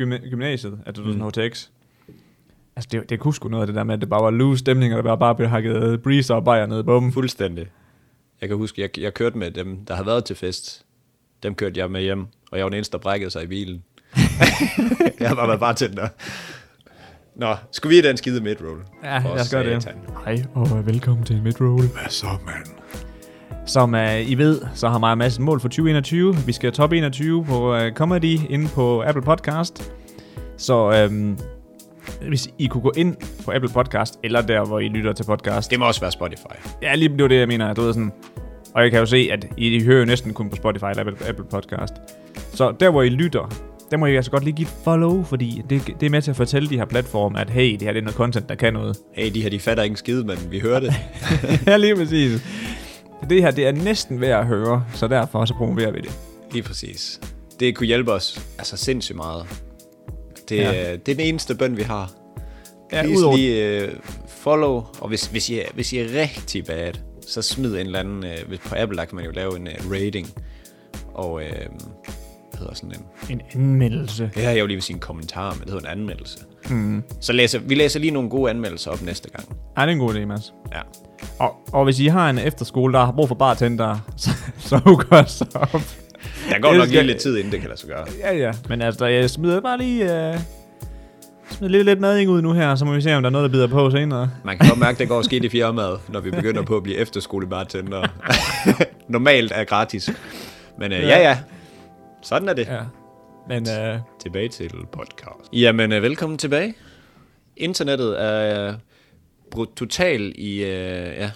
A: gymna- gymnasiet, altså mm. sådan HTX. Altså, det, det kunne sgu noget af det der med, at det bare var loose stemning, og der bare, bare blev hakket øh, breezer og bajer ned. Bum.
B: Fuldstændig. Jeg kan huske, jeg, jeg kørte med dem, der havde været til fest. Dem kørte jeg med hjem, og jeg var den eneste, der brækkede sig i bilen. jeg har bare været bartender. Nå, skulle vi i den skide midroll?
A: Ja,
B: For
A: lad os gøre det.
B: satan.
A: Hej, og øh, velkommen til Midroll.
C: Hvad så, mand?
A: Som uh, I ved, så har mig og Mads et mål for 2021. Vi skal top 21 på uh, Comedy inde på Apple Podcast. Så um, hvis I kunne gå ind på Apple Podcast, eller der, hvor I lytter til podcast.
B: Det må også være Spotify.
A: Ja, lige det var det, jeg mener. Du ved sådan. Og jeg kan jo se, at I, I hører jo næsten kun på Spotify eller Apple, Apple Podcast. Så der, hvor I lytter, der må I altså godt lige give et follow, fordi det, det er med til at fortælle de her platforme, at hey, det her det er noget content, der kan noget.
B: Hey, de her, de fatter ikke en skide, men vi hører det.
A: ja, lige præcis. Det her, det er næsten ved at høre, så derfor så promoverer vi det.
B: Lige præcis. Det kunne hjælpe os altså sindssygt meget. Det, ja.
A: Ja.
B: det er den eneste bøn, vi har.
A: Ja,
B: Please
A: udover-
B: lige øh, follow, og hvis, hvis, I, er- hvis I er rigtig bad, så smid en eller anden, øh, hvis- på Apple der kan man jo lave en øh, rating, og øh, hvad hedder sådan en,
A: En anmeldelse.
B: det her jeg jo lige vil sige en kommentar, men det hedder en anmeldelse. Mm. Så læser, vi læser lige nogle gode anmeldelser op næste gang.
A: Ej, det er en god idé, Mads.
B: Ja.
A: Og, og hvis I har en efterskole, der har brug for bartender, så, så gør så op.
B: Der går
A: Det
B: nok lige
A: skal-
B: lidt tid, inden det kan lade sig gøre.
A: Ja, ja. Men altså, jeg smider bare lige... Øh, smider lidt, lidt mading ud nu her, så må vi se, om der er noget, der bider på senere.
B: Man kan godt mærke, at der går skidt i firmaet, når vi begynder på at blive efterskolebartender. Normalt er gratis. Men øh, ja, ja. Sådan er det. Ja.
A: Ja. Men øh,
B: Tilbage til podcast. Jamen, øh, velkommen tilbage. Internettet er øh, brudt total i, øh, ja,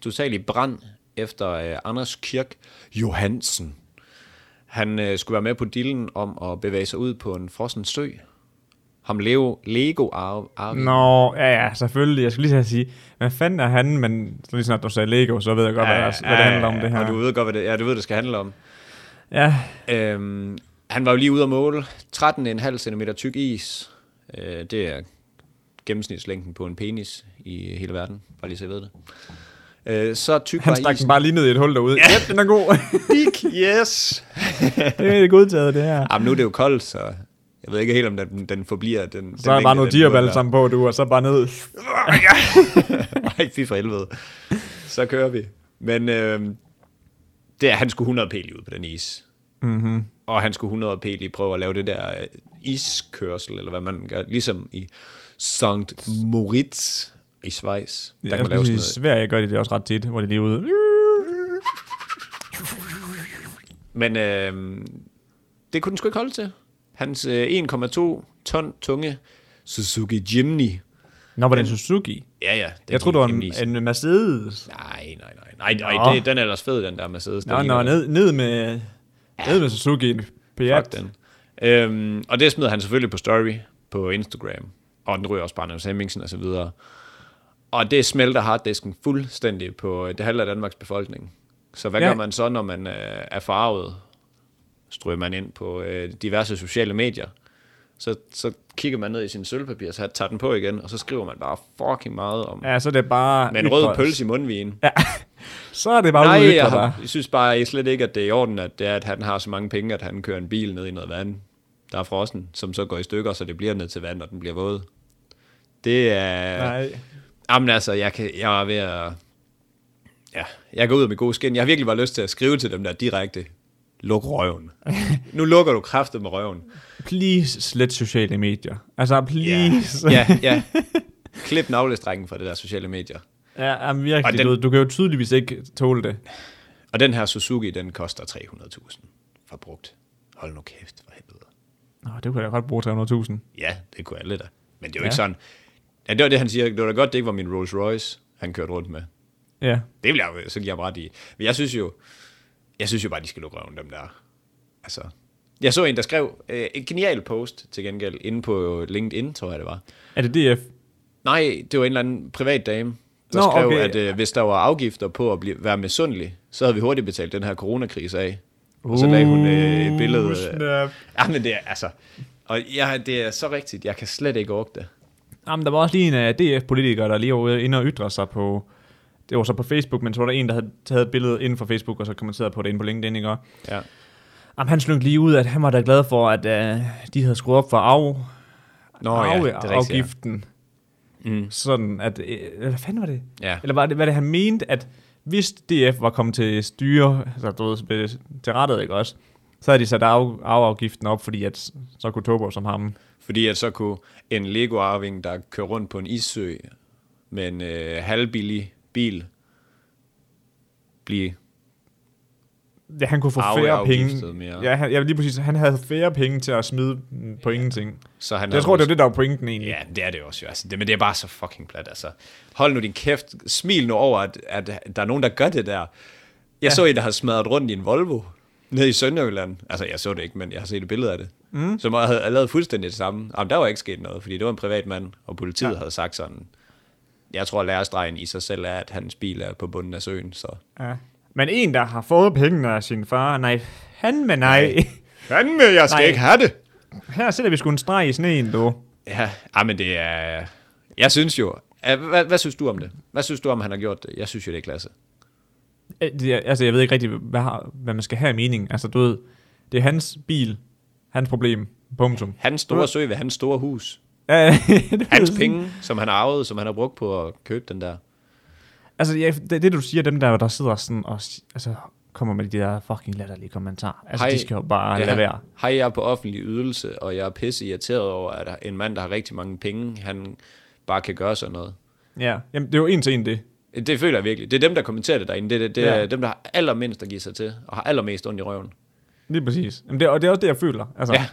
B: total i brand efter øh, Anders Kirk Johansen. Han øh, skulle være med på dillen om at bevæge sig ud på en frossen sø. Ham Leo, Lego Arve. Arve.
A: nå, ja, ja, selvfølgelig. Jeg skulle lige til at sige, hvad fanden er han? Men så lige snart du sagde Lego, så ved jeg godt, ja, hvad, der- hvad det handler om det her.
B: Og du ved godt, hvad det, ja, du ved, det skal handle om.
A: Ja,
B: Øhm, han var jo lige ude at måle 13,5 cm tyk is. Øh, det er gennemsnitslængden på en penis i hele verden, bare lige så I ved det. Øh, så tyk
A: han
B: var
A: stak den
B: isen.
A: bare lige ned i et hul derude. Ja, yep, den er god.
B: Big, yes!
A: det er godtaget, det her.
B: Jamen, nu er det jo koldt, så jeg ved ikke helt, om den, den forbliver. Den,
A: Så er der bare noget diaball sammen på, du, og så bare ned.
B: Nej, fy for helvede. Så kører vi. Men øh, det er, han skulle 100 p lige ud på den is. Mm-hmm. Og han skulle 100 p lige prøve at lave det der øh, iskørsel, eller hvad man gør. Ligesom i Sankt Moritz i Schweiz.
A: Ja,
B: Der ja, kan
A: jeg
B: man
A: skulle
B: lave sådan
A: sige, I
B: noget.
A: Sverige gør de det også ret tit, hvor de lige er ude.
B: Men øh, det kunne den sgu ikke holde til. Hans øh, 1,2 ton tunge Suzuki Jimny.
A: Nå, var det en Suzuki?
B: Ja, ja.
A: Jeg troede, det var
B: Jimny.
A: en, en Mercedes.
B: Nej, nej, nej. Nej, nej
A: Nå.
B: det, den er ellers fed, den der Mercedes. Den
A: Nå,
B: ligner-
A: nå, ned, ned med, ned med Suzuki. Fiat.
B: Fuck den. Øhm, og det smider han selvfølgelig på story på Instagram. Og den ryger også bare Niels Hemmingsen og så videre. Og det smelter harddisken fuldstændig på øh, det halve af Danmarks befolkning. Så hvad ja.
A: Ja.
B: gør man så, når man øh, er farvet? Stryger man ind på øh, diverse sociale medier. Så, så kigger man ned i sin sølvpapir, så tager den på igen, og så skriver man bare fucking meget om... Ja.
A: Ja, så er det bare...
B: Med en rød
A: ytre-
B: pølse i mundvigen.
A: Ja. Så er det bare
B: Nej,
A: Nej,
B: jeg,
A: udvikler
B: har,
A: bare.
B: jeg synes bare jeg slet ikke, at det er i orden, at, det er, at han har så mange penge, at han kører en bil ned i noget vand, der er frossen, som så går i stykker, så det bliver ned til vand, og den bliver våd. Det er...
A: Nej.
B: Jamen altså, jeg, kan, jeg var ved at... Ja, jeg går ud af mit gode skin. Jeg har virkelig bare lyst til at skrive til dem der direkte. Luk røven. nu lukker du kraftet med røven.
A: Please slet sociale medier. Altså, please.
B: Ja, ja. Klip navlestrækken fra det der sociale medier.
A: ja, jamen,
B: Og
A: virkelig.
B: den-
A: Den... Du, du kan jo tydeligvis ikke tåle det.
B: Og den her Suzuki, den koster 300.000 for brugt. Hold nu kæft, for helvede.
A: Nå, det kunne jeg godt bruge 300.000.
B: Ja, det kunne alle da. Men det er jo ja.
A: Ja.
B: ikke sådan. Ja, det var det, han siger. Det var da godt, det ikke var min Rolls Royce, han kørte rundt med.
A: Ja.
B: Det vil jeg jo, så give ham ret i. Men jeg synes jo, jeg synes jo bare, de skal lukke røven, dem der. Altså, jeg så en, der skrev øh, en genial post til gengæld, inde på LinkedIn, tror jeg det var.
A: Er det DF?
B: Nej, det var en eller anden privat dame, der Nå,
A: Nå,
B: skrev, okay.
A: okay.
B: at øh, hvis der var afgifter på at blive, være misundelig, så havde vi hurtigt betalt den her coronakrise af. Og så lagde hun øh, et billede.
A: Uh,
B: Øh,
A: snap.
B: ja, men det er altså... Og jeg, det er så rigtigt, jeg kan slet ikke orke det.
A: Jamen, der var også lige en af DF-politiker, der lige var ude- inde og ytre sig på... Det var så på Facebook, men så var der en, der havde taget et billede inden for Facebook, og så kommenteret på det inde på LinkedIn, ikke? også?
B: Ja.
A: Jamen, han slungte lige ud, at han var da glad for, at øh, de havde skruet op for af,
B: Nå
A: oh,
B: ja,
A: ja,
B: det er rigtigt.
A: afgiften.
B: Ja. Mm.
A: Sådan at, øh, hvad fanden var det?
B: ja.
A: Eller var det, hvad det han mente, at hvis DF var kommet til styre, altså du ved, ved- til rettet, ikke også? Så havde de sat af, afgiften op, fordi at, s- så kunne Tobo som ham.
B: Fordi at så kunne en Lego-arving, der kører rundt på en issø med en øh, halvbillig bil, blive...
A: Ja, han kunne få
B: Arve-
A: færre
B: afgiftet
A: penge.
B: mere.
A: Ja, han, ja, lige præcis. Han havde færre penge til at smide mm, på ingenting.
B: Så han
A: Jeg tror, det var det, der var pointen egentlig.
B: Ja, det er det også jo. Altså, det, men det er bare så fucking plat, altså. Hold nu din kæft. Smil nu over, at, at der er nogen, der gør det der. Jeg ja. så en, der havde smadret rundt i en Volvo nede i Sønderjylland. Altså, jeg så det ikke, men jeg har set et billede af det. Mm. Som havde, havde lavet fuldstændig det samme. Jamen, der var ikke sket noget, fordi det var en privat mand, og politiet ja. havde sagt sådan, jeg tror, lærestregen i sig selv er, at hans bil er på bunden af søen, så...
A: Ja. Men en, der har fået pengene af sin far, nej, han med nej.
B: Fandme, jeg skal
A: Nej.
B: ikke have det!
A: Her sætter vi sgu en streg i sneen, du.
B: Ja, ah, men det er... Jeg synes jo... Ah, Hvad, hvad synes du om det? Hvad synes du om, han har gjort det? Jeg synes jo, det er klasse.
A: Øh, det er- Altså, jeg ved ikke rigtig, hvad, har, hvad man skal have i mening. Altså, du ved, det er hans bil, hans problem, punktum.
B: Hans store sø ved hans store hus.
A: Ja, det er
B: Hans
A: sådan-
B: penge, som han har arvet, som han har brugt på at købe den der.
A: Altså, ja, det, det, du siger, dem der, der sidder sådan og s- altså, kommer med de der fucking latterlige kommentarer. Altså,
B: Hej.
A: de skal jo bare ja. lade være.
B: Hej, jeg er på offentlig ydelse, og jeg er pisse irriteret over, at en mand, der har rigtig mange penge, han bare kan gøre sådan noget.
A: Ja, Jamen, det er jo en til en det.
B: Det føler jeg virkelig. Det er dem, der kommenterer det derinde. Det, det, det er
A: Ja.
B: dem, der har allermindst at give sig til, og har allermest ondt i røven.
A: Lige præcis. Jamen, det, er- og det er også det, jeg føler. Altså,
B: Ja.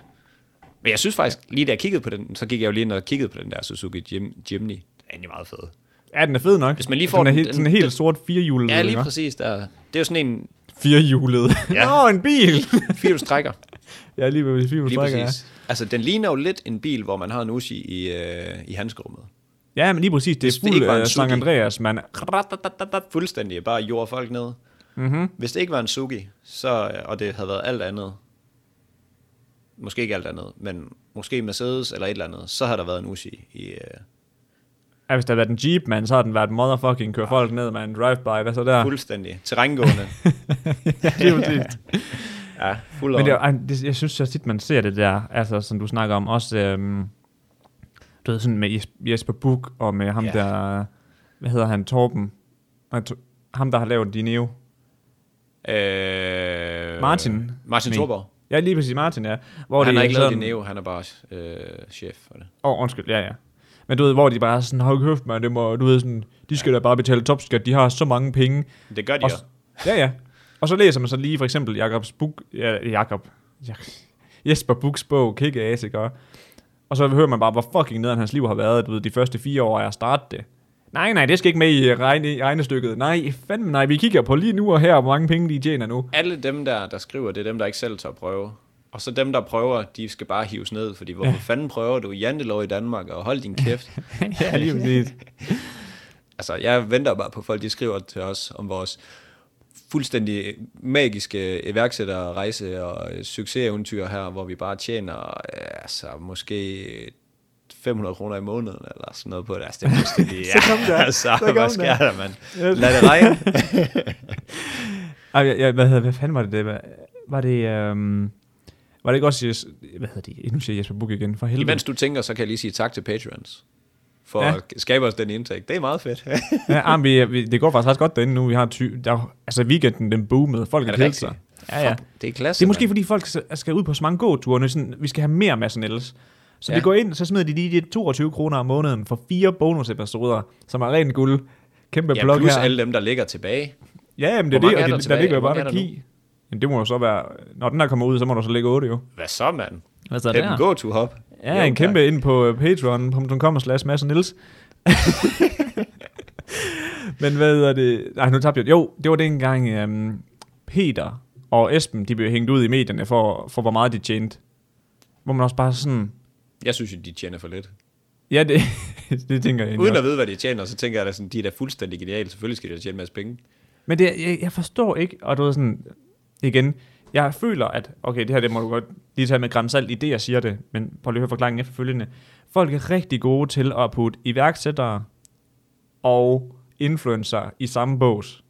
B: Men jeg synes faktisk, lige da jeg kiggede på den, så gik jeg jo lige ind og kiggede på den der Suzuki Jim, Jimny. Den er egentlig meget fed.
A: ja. den er fed nok.
B: Hvis man lige
A: Altså,
B: får
A: den, er
B: den-
A: helt,
B: den-
A: sådan en helt
B: den-
A: sort firehjulet.
B: Ja, lige
A: ikke?
B: præcis. Der. Det er jo sådan en
A: Firehjulet.
B: Ja.
A: Ja. Nå, en bil!
B: firehjulstrækker.
A: ja, lige ved
B: Lige
A: firehjulet.
B: præcis. Altså, den ligner jo lidt en bil, hvor man har en Uzi i, øh, i handskerummet.
A: Ja, men lige præcis. Det
B: Hvis
A: er
B: det ikke
A: fuld
B: var en
A: af San
B: Suzuki.
A: Andreas, man.
B: Fuldstændig bare jord folk ned.
A: Mhm.
B: Mm-hmm. Hvis det ikke var en Suzuki, så, øh, og det havde været alt andet, måske ikke alt andet, men måske Mercedes eller et eller andet, så har der været en Uzi i... Øh,
A: Ja, hvis der havde været en Jeep, man, så havde den været motherfucking køre folk ned med en drive-by. Hvad så der?
B: fuldstændig terrængående.
A: Lige præcis.
B: ja, fuld
A: Men det, er-
B: over.
A: ej, det, jeg synes så tit, man ser det der, altså som du snakker om, også øhm, du ved, sådan med Jes- Jesper Buch og med ham
B: Ja.
A: yeah. der, hvad hedder han, Torben? Nej, to, ham, der har lavet Dineo.
B: Øh,
A: Martin.
B: Martin
A: Nej.
B: Thorborg.
A: Ja, lige præcis Martin, ja. Hvor
B: han
A: det
B: har
A: er
B: ikke lavet
A: sådan,
B: din neo, han er bare øh, chef for det.
A: Åh, oh, undskyld, ja, ja. Men du ved, hvor de bare er sådan, har køft, man, det må, du ved sådan, de skal da bare betale topskat, de har så mange penge.
B: Det gør de
A: Og
B: også.
A: s- ja, ja. Og så læser man så lige for eksempel Jakobs bog, ja, Jakob, Jak- Jesper Buchs bog, Kick Ass, ikke? Og- Og så hører man bare, hvor fucking nederen hans liv har været, du ved, de første fire år af at starte det. Nej, nej, det skal ikke med i regne, regnestykket. Nej, fandme nej, vi kigger på lige nu og her, hvor mange penge de tjener nu.
B: alle dem der, der skriver, det er dem, der ikke selv tør prøve. Og så dem, der prøver, de skal bare hives ned, fordi hvorfor ja. fanden prøver du jantelov i Danmark, og hold din kæft.
A: ja, lige præcis.
B: altså, jeg venter bare på folk, de skriver til os om vores fuldstændig magiske iværksætterrejse og øh, succeseventyr her, hvor vi bare tjener øh, altså, måske 500 kroner i måneden, eller sådan noget på det. Altså, det er fuldstændig...
A: Så kom der.
B: altså,
A: Så kom
B: hvad
A: der.
B: sker der, mand?
A: Yes.
B: Lad det regne.
A: Ej, jeg, jeg, hvad, hedder, hvad fanden var det? det var, var det... Øhm, var det ikke også... Jes- Hvad hedder de? Nu siger jeg Jesper Buch igen, for helvede.
B: Imens du tænker, så kan jeg lige sige tak til patrons. for
A: Ja.
B: ja. at skabe os den indtægt. Det er meget fedt. er
A: ja, ah, men vi, vi, det går faktisk ret godt derinde nu. Vi har ty, der, altså weekenden, den boomede. Folk har
B: det
A: kedet
B: rigtigt?
A: sig. Ja, ja.
B: Fuck, Det er klasse.
A: Det er måske
B: mand.
A: fordi folk s- skal ud på så mange gåture, nu er det sådan, vi skal have mere Mads Niels. Så ja.
B: Ja.
A: de går ind, så smider de lige de 22 kroner om måneden for fire bonusepisoder, som er ren guld. Kæmpe
B: ja,
A: blok
B: plus
A: her.
B: alle dem, der ligger tilbage.
A: Ja, jamen, det er
B: Hvor
A: det, og
B: mange er
A: det,
B: der
A: der, ligger jo
B: tilbage? Hvor
A: bare
B: mange
A: der
B: er der nu?
A: ki. Jamen, det må jo så være, når den her kommer ud, så må der så ligge 8 jo.
B: Hvad så, mand?
A: Hvad så
B: Det er en god to hop.
A: Ja, en kæmpe ind på øh, patreon.com slash Mads Niels. Men hvad er det? Nej, nu tabte jeg. Jo, det var dengang øhm, Peter og Esben, de blev hængt ud i medierne for, for hvor meget de tjente. Hvor man også bare sådan...
B: Jeg synes jo, de tjener for lidt.
A: Ja, det, det tænker jeg egentlig
B: Uden
A: også.
B: at vide, hvad de tjener, så tænker jeg da sådan, de er da fuldstændig geniale. Selvfølgelig skal de da tjene en masse penge.
A: Men det, jeg, jeg forstår ikke, og du ved sådan, igen, jeg føler, at, okay, det her det må du godt lige tage med gram salt i det, jeg siger det, men prøv lige at høre forklaringen efterfølgende. Folk er rigtig gode til at putte iværksættere og influencer i samme bås.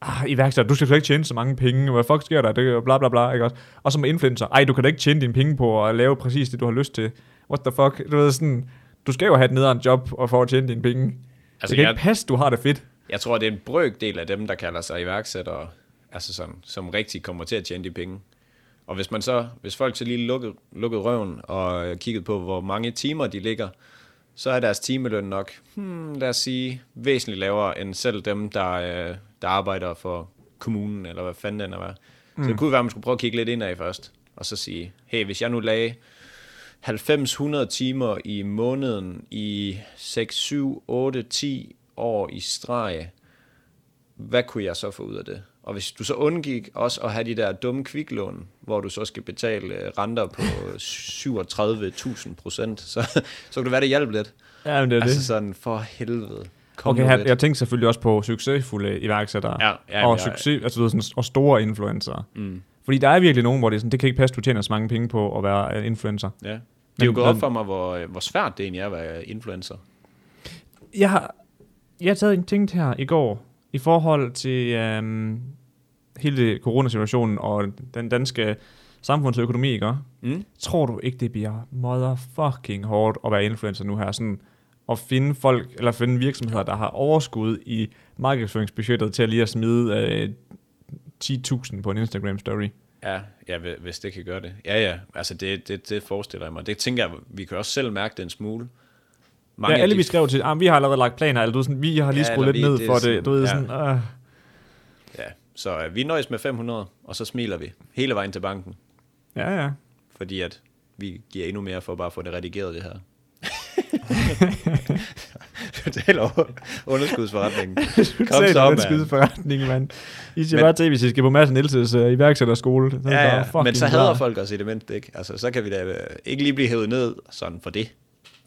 A: Ah, iværksætter, du skal slet ikke tjene så mange penge, hvad fuck sker der, det er jo bla bla bla, ikke også? Og som influencer, ej, du kan da ikke tjene dine penge på at lave præcis det, du har lyst til. What the fuck, du ved sådan, du skal jo have et nederen job og for at tjene dine penge. Altså,
B: Altså,
A: det kan jeg...
B: jeg-
A: ikke passe, du har det fedt.
B: Jeg tror, det er en brøkdel af dem, der kalder sig iværksættere, altså sådan, som rigtig kommer til at tjene de penge. Og hvis, man så, hvis folk så lige lukkede, lukkede røven og øh, kiggede på, hvor mange timer de ligger, så er deres timeløn nok, hmm, lad os sige, væsentligt lavere end selv dem, der, øh, der arbejder for kommunen, eller hvad fanden den er. Hvad. Mm. Så det kunne være, at man skulle prøve at kigge lidt indad først, og så sige, hey, hvis jeg nu lagde 90-100 timer i måneden i 6, 7, 8, 10 år i streg, hvad kunne jeg så få ud af det? Og hvis du så undgik også at have de der dumme kviklån, hvor du så skal betale øh, renter på 37.000 procent, så, så kunne det være, det hjalp lidt.
A: Ja, men det er
B: Altså
A: altså,
B: sådan, for helvede. Kom
A: Okay,
B: nu
A: her,
B: lidt.
A: jeg tænkte selvfølgelig også på succesfulde iværksættere.
B: Ja, ja,
A: og,
B: ja, ja.
A: succes, Altså, du ved, sådan, og store influencer. Mm. Fordi der er virkelig nogen, hvor det er sådan, det kan ikke passe, du tjener så mange penge på at være øh, influencer.
B: ja. Det er jo
A: Men-
B: gået op
A: men-
B: for mig, hvor, øh, hvor svært det egentlig er at være influencer.
A: Jeg har, jeg har taget en ting her i går, i forhold til øhm, hele coronasituationen og den danske samfundsøkonomi, ikke?
B: Mm.
A: Tror du ikke, det bliver motherfucking hårdt at være influencer nu her? Sådan at finde folk, eller finde virksomheder, der har overskud i markedsføringsbudgettet til at lige at smide øh, 10.000 på en Instagram story.
B: Ja, ja, hvi- hvis det kan gøre det. Ja, ja, altså det, det, det forestiller jeg mig. Det tænker jeg, vi kan også selv mærke det en smule.
A: Mange ja,
B: af
A: alle
B: de-
A: vi skrev til, ah, vi har allerede lagt planer, eller du ved sådan, vi har lige
B: Ja,
A: skruet lidt
B: eller vi-
A: ned
B: det
A: for
B: er
A: det.
B: sådan-
A: du ved
B: ja.
A: sådan, øh.
B: Ja, så øh, vi nøjes med 500, og så smiler vi hele vejen til banken,
A: ja, ja.
B: fordi at vi giver endnu mere for bare at få det redigeret, det her. Total over- underskudsforretningen. Kom
A: Totalt
B: så,
A: den
B: mand.
A: Skydeforretning, mand. I skal
B: Men-
A: bare til, hvis I skal på Mads Nielses uh, iværksætterskole. Så er det
B: Ja,
A: bare
B: ja.
A: fucking
B: Men så hader
A: klar.
B: folk os i det mindste, ikke? Altså, så kan vi da øh, ikke lige blive hævet ned sådan for det.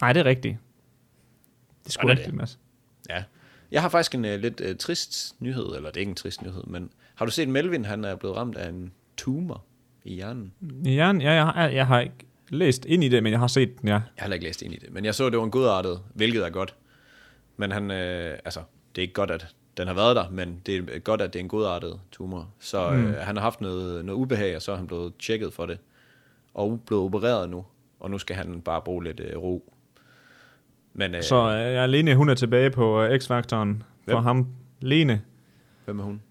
A: Nej, det er rigtigt. Det er sgu
B: Sådan er det.
A: rigtigt, Mads.
B: Ja. Jeg har faktisk en uh, lidt uh, trist nyhed, eller det er ikke en trist nyhed, men har du set Melvin, han er blevet ramt af en tumor i hjernen?
A: Ja, ja, jeg, har, jeg har ikke læst ind i det, men jeg har set den, ja.
B: Jeg har heller ikke læst ind i det, men jeg så, at det var en godartet, hvilket er godt. Men han, øh, altså, det er ikke godt, at den har været der, men det er godt, at det er en godartet tumor. Så mm. øh, han har haft noget, noget ubehag, og så er han blevet tjekket for det, og blevet opereret nu, og nu skal han bare bruge lidt øh, ro. Men øh,
A: Så
B: så...
A: uh, Lene, hun er tilbage på uh, X-Factoren for
B: Hvem?
A: ham. Lene.
B: hvem er hun?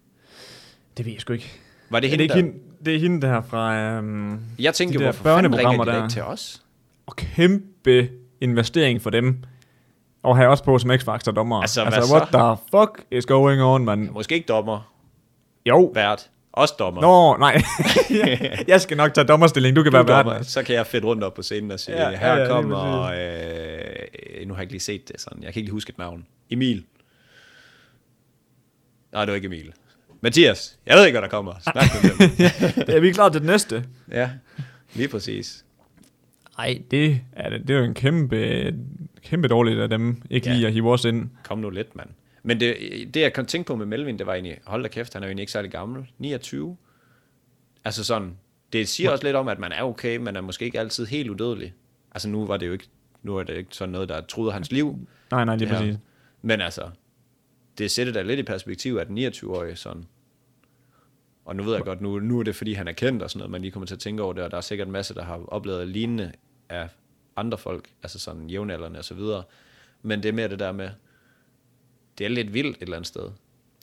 A: Det ved jeg sgu ikke.
B: Var det
A: Det er,
B: hende,
A: det ikke
B: der...
A: hende, det er hende der fra... Um,
B: Jeg tænkte,
A: de
B: de
A: der
B: hvorfor fanden ringer
A: børneprogrammer
B: de der.
A: der?
B: ikke til os?
A: og kæmpe investering for dem. Og har jeg også på som X-Factor dommer.
B: Altså, hvad
A: altså what the fuck is going on, mand?
B: Måske ikke dommer,
A: Jo.
B: vært, også dommer.
A: Nå, nej. jeg skal nok tage dommerstilling. Du kan
B: Du er
A: være vært.
B: dommer, så kan jeg fedt rundt op på scenen og sige,
A: Ja,
B: ja,
A: ja,
B: her
A: ja,
B: ja,
A: lige
B: kommer, øh, nu har jeg ikke lige set det sådan, jeg kan ikke lige huske et navn. Emil. Nej, det var ikke Emil. Mathias, jeg ved ikke, hvad der kommer. Snak med dem.
A: er vi klar til det næste?
B: Ja, lige præcis.
A: Nej, det er, det er jo en kæmpe, kæmpe dårligt af dem. Ikke
B: Ja.
A: lige at hive os ind.
B: Kom nu lidt, mand. Men det, det, jeg kom tænke på med Melvin, det var egentlig, hold da kæft, han er jo egentlig ikke særlig gammel. 29. Altså sådan, det siger også lidt om, at man er okay, men er måske ikke altid helt udødelig. Altså nu var det jo ikke, nu er det ikke sådan noget, der truede hans liv.
A: Nej, nej, lige
B: det her.
A: præcis.
B: Men altså, det sætter da lidt i perspektiv, at den 29-årige sådan... Og nu ved jeg godt, nu, nu er det fordi, han er kendt og sådan noget, man lige kommer til at tænke over det, og der er sikkert en masse, der har oplevet lignende af andre folk, altså sådan jævnaldrende og så videre. Men det er mere det der med, det er lidt vildt et eller andet sted.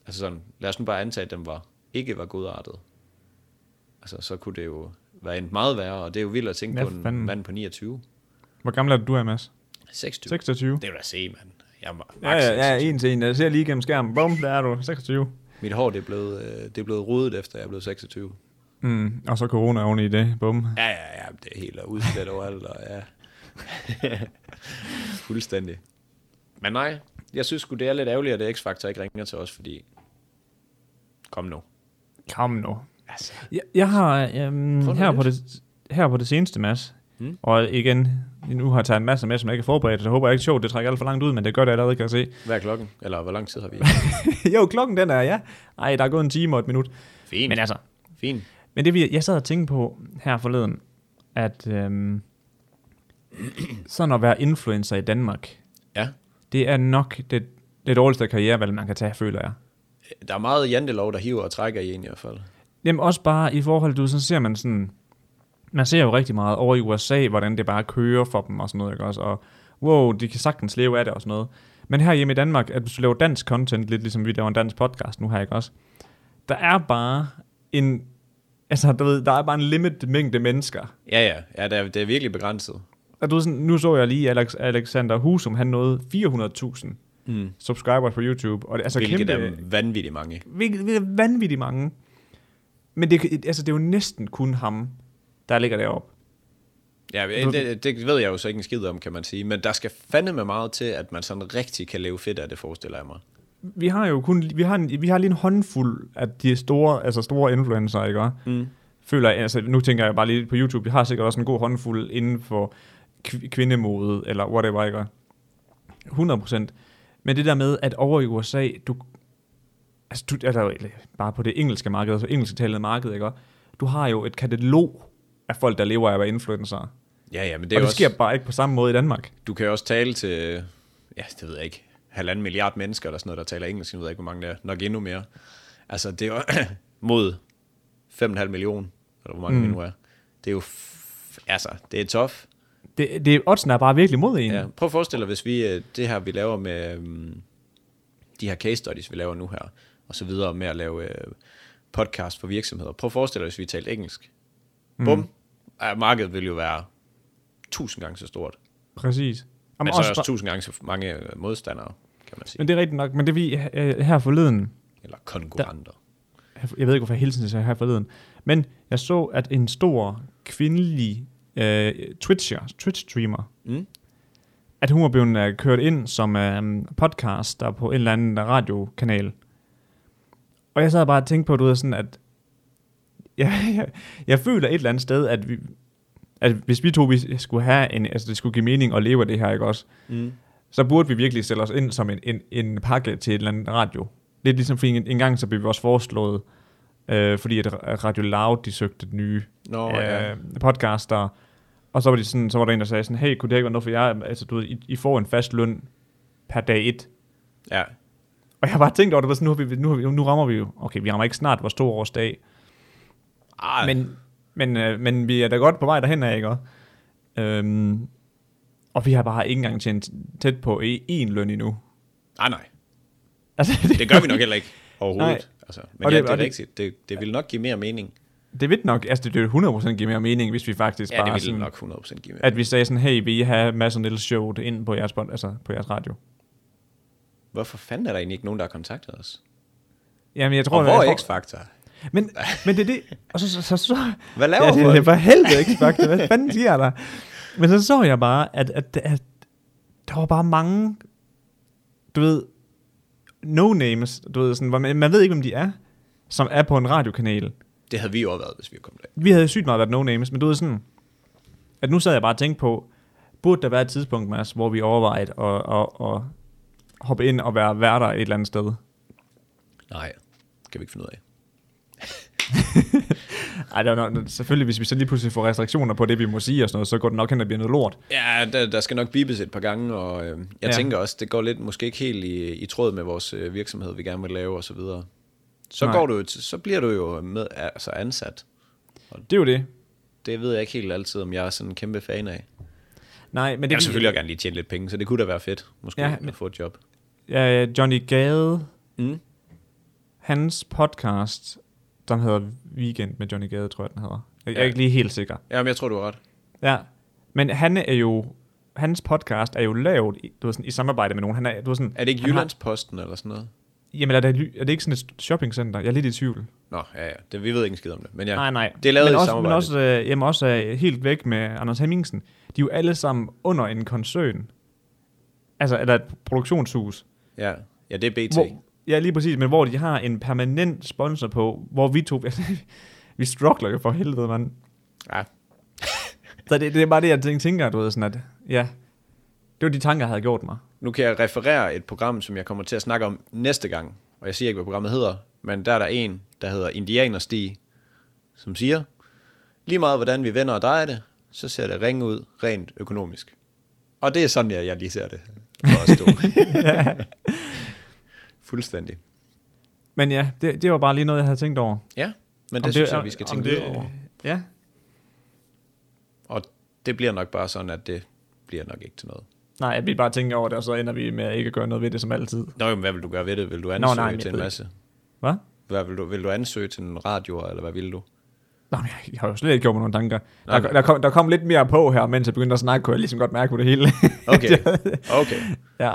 B: Altså sådan, lad os nu bare antage, at den var, ikke var godartet. Altså, så kunne det jo være endt meget værre, og det er jo vildt at tænke
A: Ja,
B: på en
A: fanden.
B: mand på 29.
A: Hvor gammel er du, Mads?
B: 26.
A: 26?
B: Det er jo da se, mand. Jeg er ma-
A: Ja,
B: max
A: ja, ja,
B: 26.
A: en til en. Jeg ser lige gennem skærmen. Bum, der er du. 26.
B: Mit hår, det er blevet, øh, det er blevet rodet efter, jeg er blevet 26.
A: Mm, og så corona oven i det. Bum.
B: Ja, ja, ja, det er helt udslet overalt, og ja. Fuldstændig. Men nej, jeg synes sgu, det er lidt ærgerligt, at X-Factor ikke ringer til os, fordi... Kom nu.
A: Kom nu.
B: Altså.
A: Jeg, jeg har øhm,
B: noget
A: her,
B: nyt.
A: på det, her på det seneste, Mads,
B: Mm.
A: mm. og igen, nu har jeg taget en masse med, som jeg ikke er forberedt, så jeg håber jeg ikke sjovt, det trækker alt for langt ud, men det gør det allerede, kan jeg se.
B: Hvad er klokken? Eller hvor lang tid har vi?
A: jo, klokken den er, ja. Ej, der er gået en time og et minut.
B: Fint.
A: Men altså,
B: Fint.
A: men det vi- jeg sad og tænkte på her forleden, at øhm, sådan at være influencer i Danmark,
B: Ja.
A: det er nok det, det dårligste karrierevalg, man kan tage, føler jeg.
B: Der er meget jantelov, der hiver og trækker i en i hvert fald.
A: Jamen også bare i forhold til, så ser man sådan, man ser jo rigtig meget over i USA, hvordan det bare kører for dem og sådan noget, ikke også? Og wow, de kan sagtens leve af det og sådan noget. Men her hjemme i Danmark, at hvis du laver dansk content, lidt ligesom vi laver en dansk podcast nu her, ikke også? Der er bare en, altså du ved, der er bare en limit mængde mennesker.
B: Ja, ja. ja det, er, det er virkelig begrænset.
A: Og du ved, sådan, nu så jeg lige Alex, Alexander Husum, han nåede 400.000
B: Mm.
A: subscribers på YouTube. Og det, altså,
B: Hvilket
A: kæmpe,
B: er vanvittigt mange.
A: Hvilket hvilket er vanvittigt mange. Men det, kan- altså, det er jo næsten kun ham, der ligger deroppe.
B: Ja, det, det ved jeg jo så ikke en skid om, kan man sige. Men der skal fandeme meget til, at man sådan rigtig kan leve fedt af det, forestiller jeg mig.
A: Vi har jo kun, vi har, en, vi har lige en håndfuld af de store, altså store influencer, ikke? Mm. Føler jeg, altså nu tænker jeg bare lige på YouTube, vi har sikkert også en god håndfuld inden for kv- kvindemode, eller whatever, ikke? 100 procent. Men det der med, at over i USA, du, altså, du, altså eller bare på det engelske marked, altså engelsktalende marked, ikke? Du har jo et katalog af folk, der lever af at være influencer.
B: Ja, ja, men det
A: Det
B: er
A: og det
B: også...
A: sker bare ikke på samme måde i Danmark.
B: Du kan jo også tale til, ja, det ved jeg ikke, halvanden milliard mennesker eller sådan noget, der taler engelsk. Jeg ved ikke, hvor mange der er. Nok endnu mere. Altså, det er jo mod 5,5 millioner, eller hvor mange mm. det nu er. Det er jo, f- altså, det er tough.
A: Det, det, oddsen er bare virkelig mod en.
B: Ja. Prøv at forestille dig, hvis vi, øh, det her vi laver med øhm, de her case studies, vi laver nu her, og så videre med at lave øh, podcast for virksomheder. Prøv at forestille dig, hvis vi talte engelsk. Mm. Bum. Ja, markedet vil jo være tusind gange så stort.
A: Præcis. Jamen,
B: Men så er der også tusind gange så mange øh, modstandere, kan man sige.
A: men det er rigtigt nok. Men det vi øh, her forleden,
B: Eller konkurrenter.
A: jeg ved ikke, hvorfor jeg hele tiden siger her forleden, men jeg så, at en stor kvindelig øh, Twitcher, Twitch-streamer,
B: Mm.
A: at hun var blevet øh, kørt ind som øh, podcast der på en eller anden radiokanal. Og jeg sad bare og tænkte på, du ved, sådan, at jeg, jeg, jeg føler et eller andet sted, at, vi, at hvis vi to vi skulle have en, altså det skulle give mening at leve af det her, ikke også?
B: Mm.
A: så burde vi virkelig stille os ind som en, en, en pakke til et eller andet radio. Lidt ligesom fordi en, en gang, så blev vi også foreslået, øh, fordi at at Radio Loud, de søgte den nye
B: Nå,
A: øh,
B: ja.
A: podcaster, og så var, de sådan, så var der en, der sagde sådan, hey, kunne det ikke være noget for jer? Altså, du ved, I, I får en fast løn per dag et.
B: Ja.
A: Og jeg har bare tænkt over det, var sådan, nu, har vi, nu, har vi, nu rammer vi jo, okay, vi rammer ikke snart vores to års dag,
B: Ej, men,
A: men, men, øh, men vi er da godt på vej derhen af, ikke? også? Øhm, og vi har bare ikke engang tjent tæt på en løn endnu.
B: ej, ah, nej.
A: Altså,
B: Det gør vi nok heller ikke overhovedet.
A: Nej.
B: Altså, men
A: Og
B: det, ja,
A: det-
B: det er
A: og det-
B: rigtigt. Det, det vil nok give mere mening.
A: Det vil nok, altså det vil 100% give mere mening, hvis vi faktisk
B: Ja, det
A: bare
B: vil
A: sådan,
B: nok 100% give mere.
A: at vi sagde sådan, hey, vi har masser af lille show ind på jeres, pod- altså på jeres radio.
B: Hvorfor fanden er der egentlig ikke nogen, der har kontaktet os?
A: Jamen, jeg tror,
B: Og hvor
A: jeg
B: er
A: tror,
B: X-Factor?
A: men, men det er det, og så, så, så, så
B: Hvad laver
A: ja, det,
B: folk?
A: det er for helvede ikke faktisk, hvad fanden siger der? Men så så jeg bare, at, at, at der var bare mange, du ved, no-names, du ved, sådan, hvor man, man ved ikke, hvem de er, som er på en radiokanal.
B: Det havde vi jo også været, hvis vi var kommet af.
A: vi havde sygt meget været no-names, men du ved sådan, at nu sad jeg bare og tænkte på, burde der være et tidspunkt, Mads, hvor vi overvejede at, at, at hoppe ind og være værter et eller andet sted?
B: Nej, kan vi ikke finde ud af.
A: Ej, der er nok, selvfølgelig, hvis vi så lige pludselig får restriktioner på det, vi må sige og sådan noget, så går det nok hen og bliver noget lort.
B: Ja, der, der skal nok bibes et par gange, og øh, jeg ja.
A: Ja.
B: tænker også, det går lidt måske ikke helt i, i tråd med vores øh, virksomhed, vi gerne vil lave og Så, videre. så,
A: Nej.
B: går du, jo t- så bliver du jo med, altså ansat.
A: Det er jo det.
B: Det ved jeg ikke helt altid, om jeg er sådan en kæmpe fan af.
A: Nej, men det
B: Jeg
A: er
B: vil
A: fordi-
B: selvfølgelig også gerne lige tjene lidt penge, så det kunne da være fedt, måske
A: Ja,
B: ja, men...
A: men-
B: at få et job.
A: ja, Johnny Gade,
B: Mm.
A: hans podcast, den hedder Weekend med Johnny Gade, tror jeg, den hedder. Jeg, jeg er
B: Ja.
A: ikke lige helt sikker.
B: Jamen, jeg tror, du har ret.
A: Ja, men han er jo, hans podcast er jo lavet i, du ved, sådan, i samarbejde med nogen. Han er, du ved, sådan,
B: Er det ikke
A: han har-
B: Jyllandsposten eller sådan noget?
A: Jamen, er det, ly- er det ikke sådan et shoppingcenter? Jeg er lidt i tvivl.
B: Nå, ja, ja. Det, vi ved ikke en skid om det. Men ja,
A: Nej, nej.
B: det er lavet
A: men
B: i
A: også,
B: samarbejde.
A: Men også, øh, jamen også øh, helt væk med Anders Hemmingsen. De er jo alle sammen under en koncern. Altså, eller et produktionshus.
B: Ja, ja det er BT.
A: Hvor, ja, lige præcis, men hvor de har en permanent sponsor på, hvor vi to... vi struggler jo for helvede, mand.
B: Ja.
A: Så det, det er bare det, jeg tænker, tænker, du ved, sådan at... Ja, det var de tanker, jeg havde gjort mig.
B: Nu kan jeg referere et program, som jeg kommer til at snakke om næste gang. Og jeg siger ikke, hvad programmet hedder, men der er der en, der hedder Indianerstig, som siger, lige meget hvordan vi vender og drejer det, så ser det ringe ud rent økonomisk. Og det er sådan, jeg, jeg lige ser det for os to. Fuldstændig.
A: Men ja, det, det var bare lige noget, jeg havde tænkt over.
B: Ja, men det,
A: Om
B: synes
A: om-
B: jeg, vi skal
A: om
B: tænke
A: det-
B: videre over.
A: Ja,
B: Og det bliver nok bare sådan, at det bliver nok ikke til noget.
A: nej, at vi bare tænker over det, og så ender vi med ikke at gøre noget ved det som altid.
B: Nå, jo, men hvad vil du gøre ved det? Vil du ansøge Nå,
A: nej,
B: nej,
A: men
B: til
A: jeg
B: en
A: ved
B: masse?
A: Hvad?
B: Hvad vil du, vil du ansøge til en radio, eller hvad vil du?
A: Nå, men jeg har jo slet ikke gjort mig nogle tanker.
B: Nej,
A: Der,
B: men-
A: der, kom, der kom lidt mere på her, mens jeg begyndte at snakke, kunne jeg ligesom godt mærke på det hele.
B: Okay, okay.
A: ja.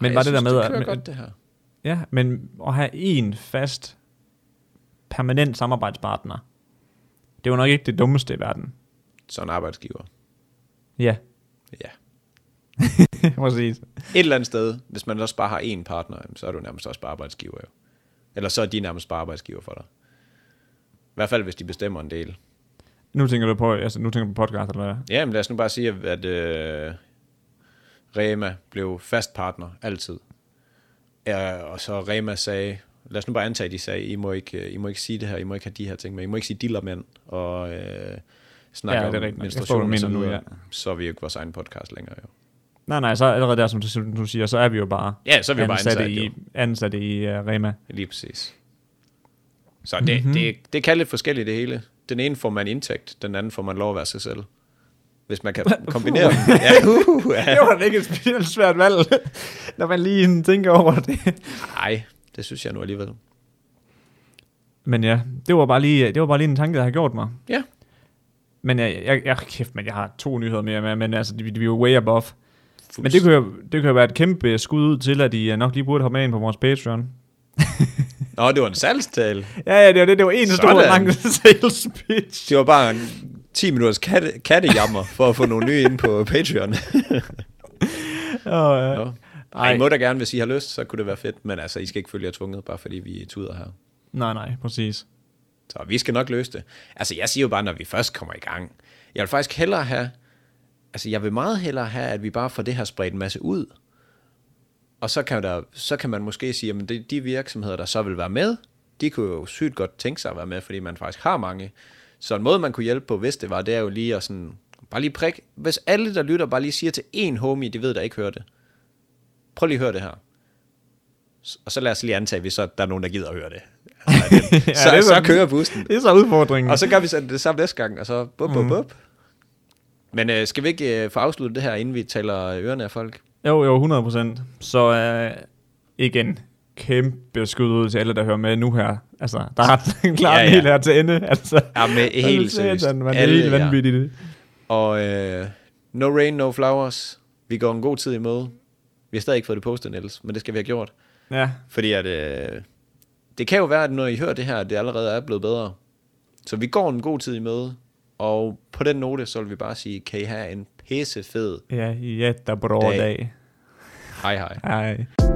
A: Men
B: Ej,
A: var
B: jeg
A: det der
B: synes,
A: med,
B: det kører
A: at,
B: godt, det her.
A: ja, men at have en fast, permanent samarbejdspartner, det var nok ikke det dummeste i verden.
B: Så en arbejdsgiver.
A: Ja,
B: Ja.
A: præcis.
B: Et eller andet sted, hvis man også bare har én partner, jamen, så er du nærmest også bare arbejdsgiver jo. Eller så er de nærmest bare arbejdsgiver for dig. I hvert fald, hvis de bestemmer en del.
A: Nu tænker du på, altså, nu tænker du på podcast, eller hvad?
B: Ja, men lad os nu bare sige, at øh, Rema blev fast partner altid. Ja, og så Rema sagde, lad os nu bare antage, at de sagde, I må ikke, øh, I må ikke sige det her, I må ikke have de her ting med, I må ikke sige dillermænd, og øh, snakke
A: Ja,
B: ja,
A: det er rigtigt nok.
B: om
A: Jeg
B: menstruation
A: forstår, hvad
B: og
A: du
B: sådan
A: mener
B: noget.
A: nu,
B: Ja. Så er vi jo ikke vores egen podcast længere jo.
A: Nej, nej, så allerede der, som du, som du siger, så er vi jo bare
B: Ja, så er vi jo bare ansatte
A: i,
B: jo.
A: ansatte i uh, Rema.
B: Lige præcis. Så det, mm-hmm. det, det kan lidt forskelligt det hele. Den ene får man indtægt, den anden får man lov at være sig selv. Hvis man kan kombinere dem. Ja, uh, ja.
A: Det var da ikke et specielt svært valg, når man lige sådan tænker over det.
B: Ej, det synes jeg nu alligevel.
A: Men ja, det var bare lige, det var bare lige en tanke, der har gjort mig.
B: Ja,
A: Men jeg, jeg, jeg kæft, men jeg har to nyheder mere med, men altså, vi, vi er jo way above. Men det kunne, jo, det kunne jo være et kæmpe skud ud til, at I øh, nok lige burde have med ind på vores Patreon.
B: Nå, det var en salgstale.
A: Ja, ja, det var det. Det var en stor
B: Sådan.
A: lang sales pitch.
B: Det var bare en 10 minutters katte, kattejammer for at få nogle nye ind på Patreon.
A: Og, øh,
B: Nå. Ej,
A: Ej.
B: I må da gerne, hvis I har lyst, så kunne det være fedt. Men altså, I skal ikke følge jer tvunget, bare fordi vi tuder her.
A: nej, nej, præcis.
B: Så vi skal nok løse det. Altså, jeg siger jo bare, når vi først kommer i gang. Jeg vil faktisk hellere have... Altså, jeg vil meget hellere have, at vi bare får det her spredt en masse ud. Og så kan, der, så kan man måske sige, at de, de virksomheder, der så vil være med, de kunne jo sygt godt tænke sig at være med, fordi man faktisk har mange. Så en måde, man kunne hjælpe på, hvis det var, det er jo lige at sådan... Bare lige prik. Hvis alle, der lytter, bare lige siger til én homie, de ved, der ikke hører det. Prøv lige at høre det her. S- Og så lad os lige antage, hvis så der er nogen, der gider at høre det. Altså, at den-
A: Ja,
B: så,
A: det er
B: ja, så
A: sådan-
B: kører bussen.
A: Det er så udfordringen.
B: Og så gør vi sådan det samme næste gang, og så bup, bup, bup. Men øh, skal vi ikke øh, få afsluttet det her, inden vi taler øh, ørerne af folk?
A: Jo, jo, 100 procent. Så øh, igen, kæmpe skud ud til alle, der hører med nu her. Altså, der er ret klart
B: Ja,
A: ja,
B: ja.
A: ja. her til ende. Altså,
B: Ja, men
A: Altså,
B: helt
A: satan,
B: seriøst.
A: Man, det er
B: Alle
A: helt
B: jer.
A: vanvittigt. Ja.
B: Og øh, no rain, no flowers. Vi går en god tid i møde. Vi har stadig ikke fået det postet, Niels, men det skal vi have gjort.
A: Ja,
B: Fordi at, øh, det kan jo være, at når I hører det her, at det allerede er blevet bedre. Så vi går en god tid i møde. Og på den note, så vil vi bare sige, kan I have en pissefed
A: ja, ja, der bra
B: Dag.
A: dag.
B: hej hej.
A: Hej.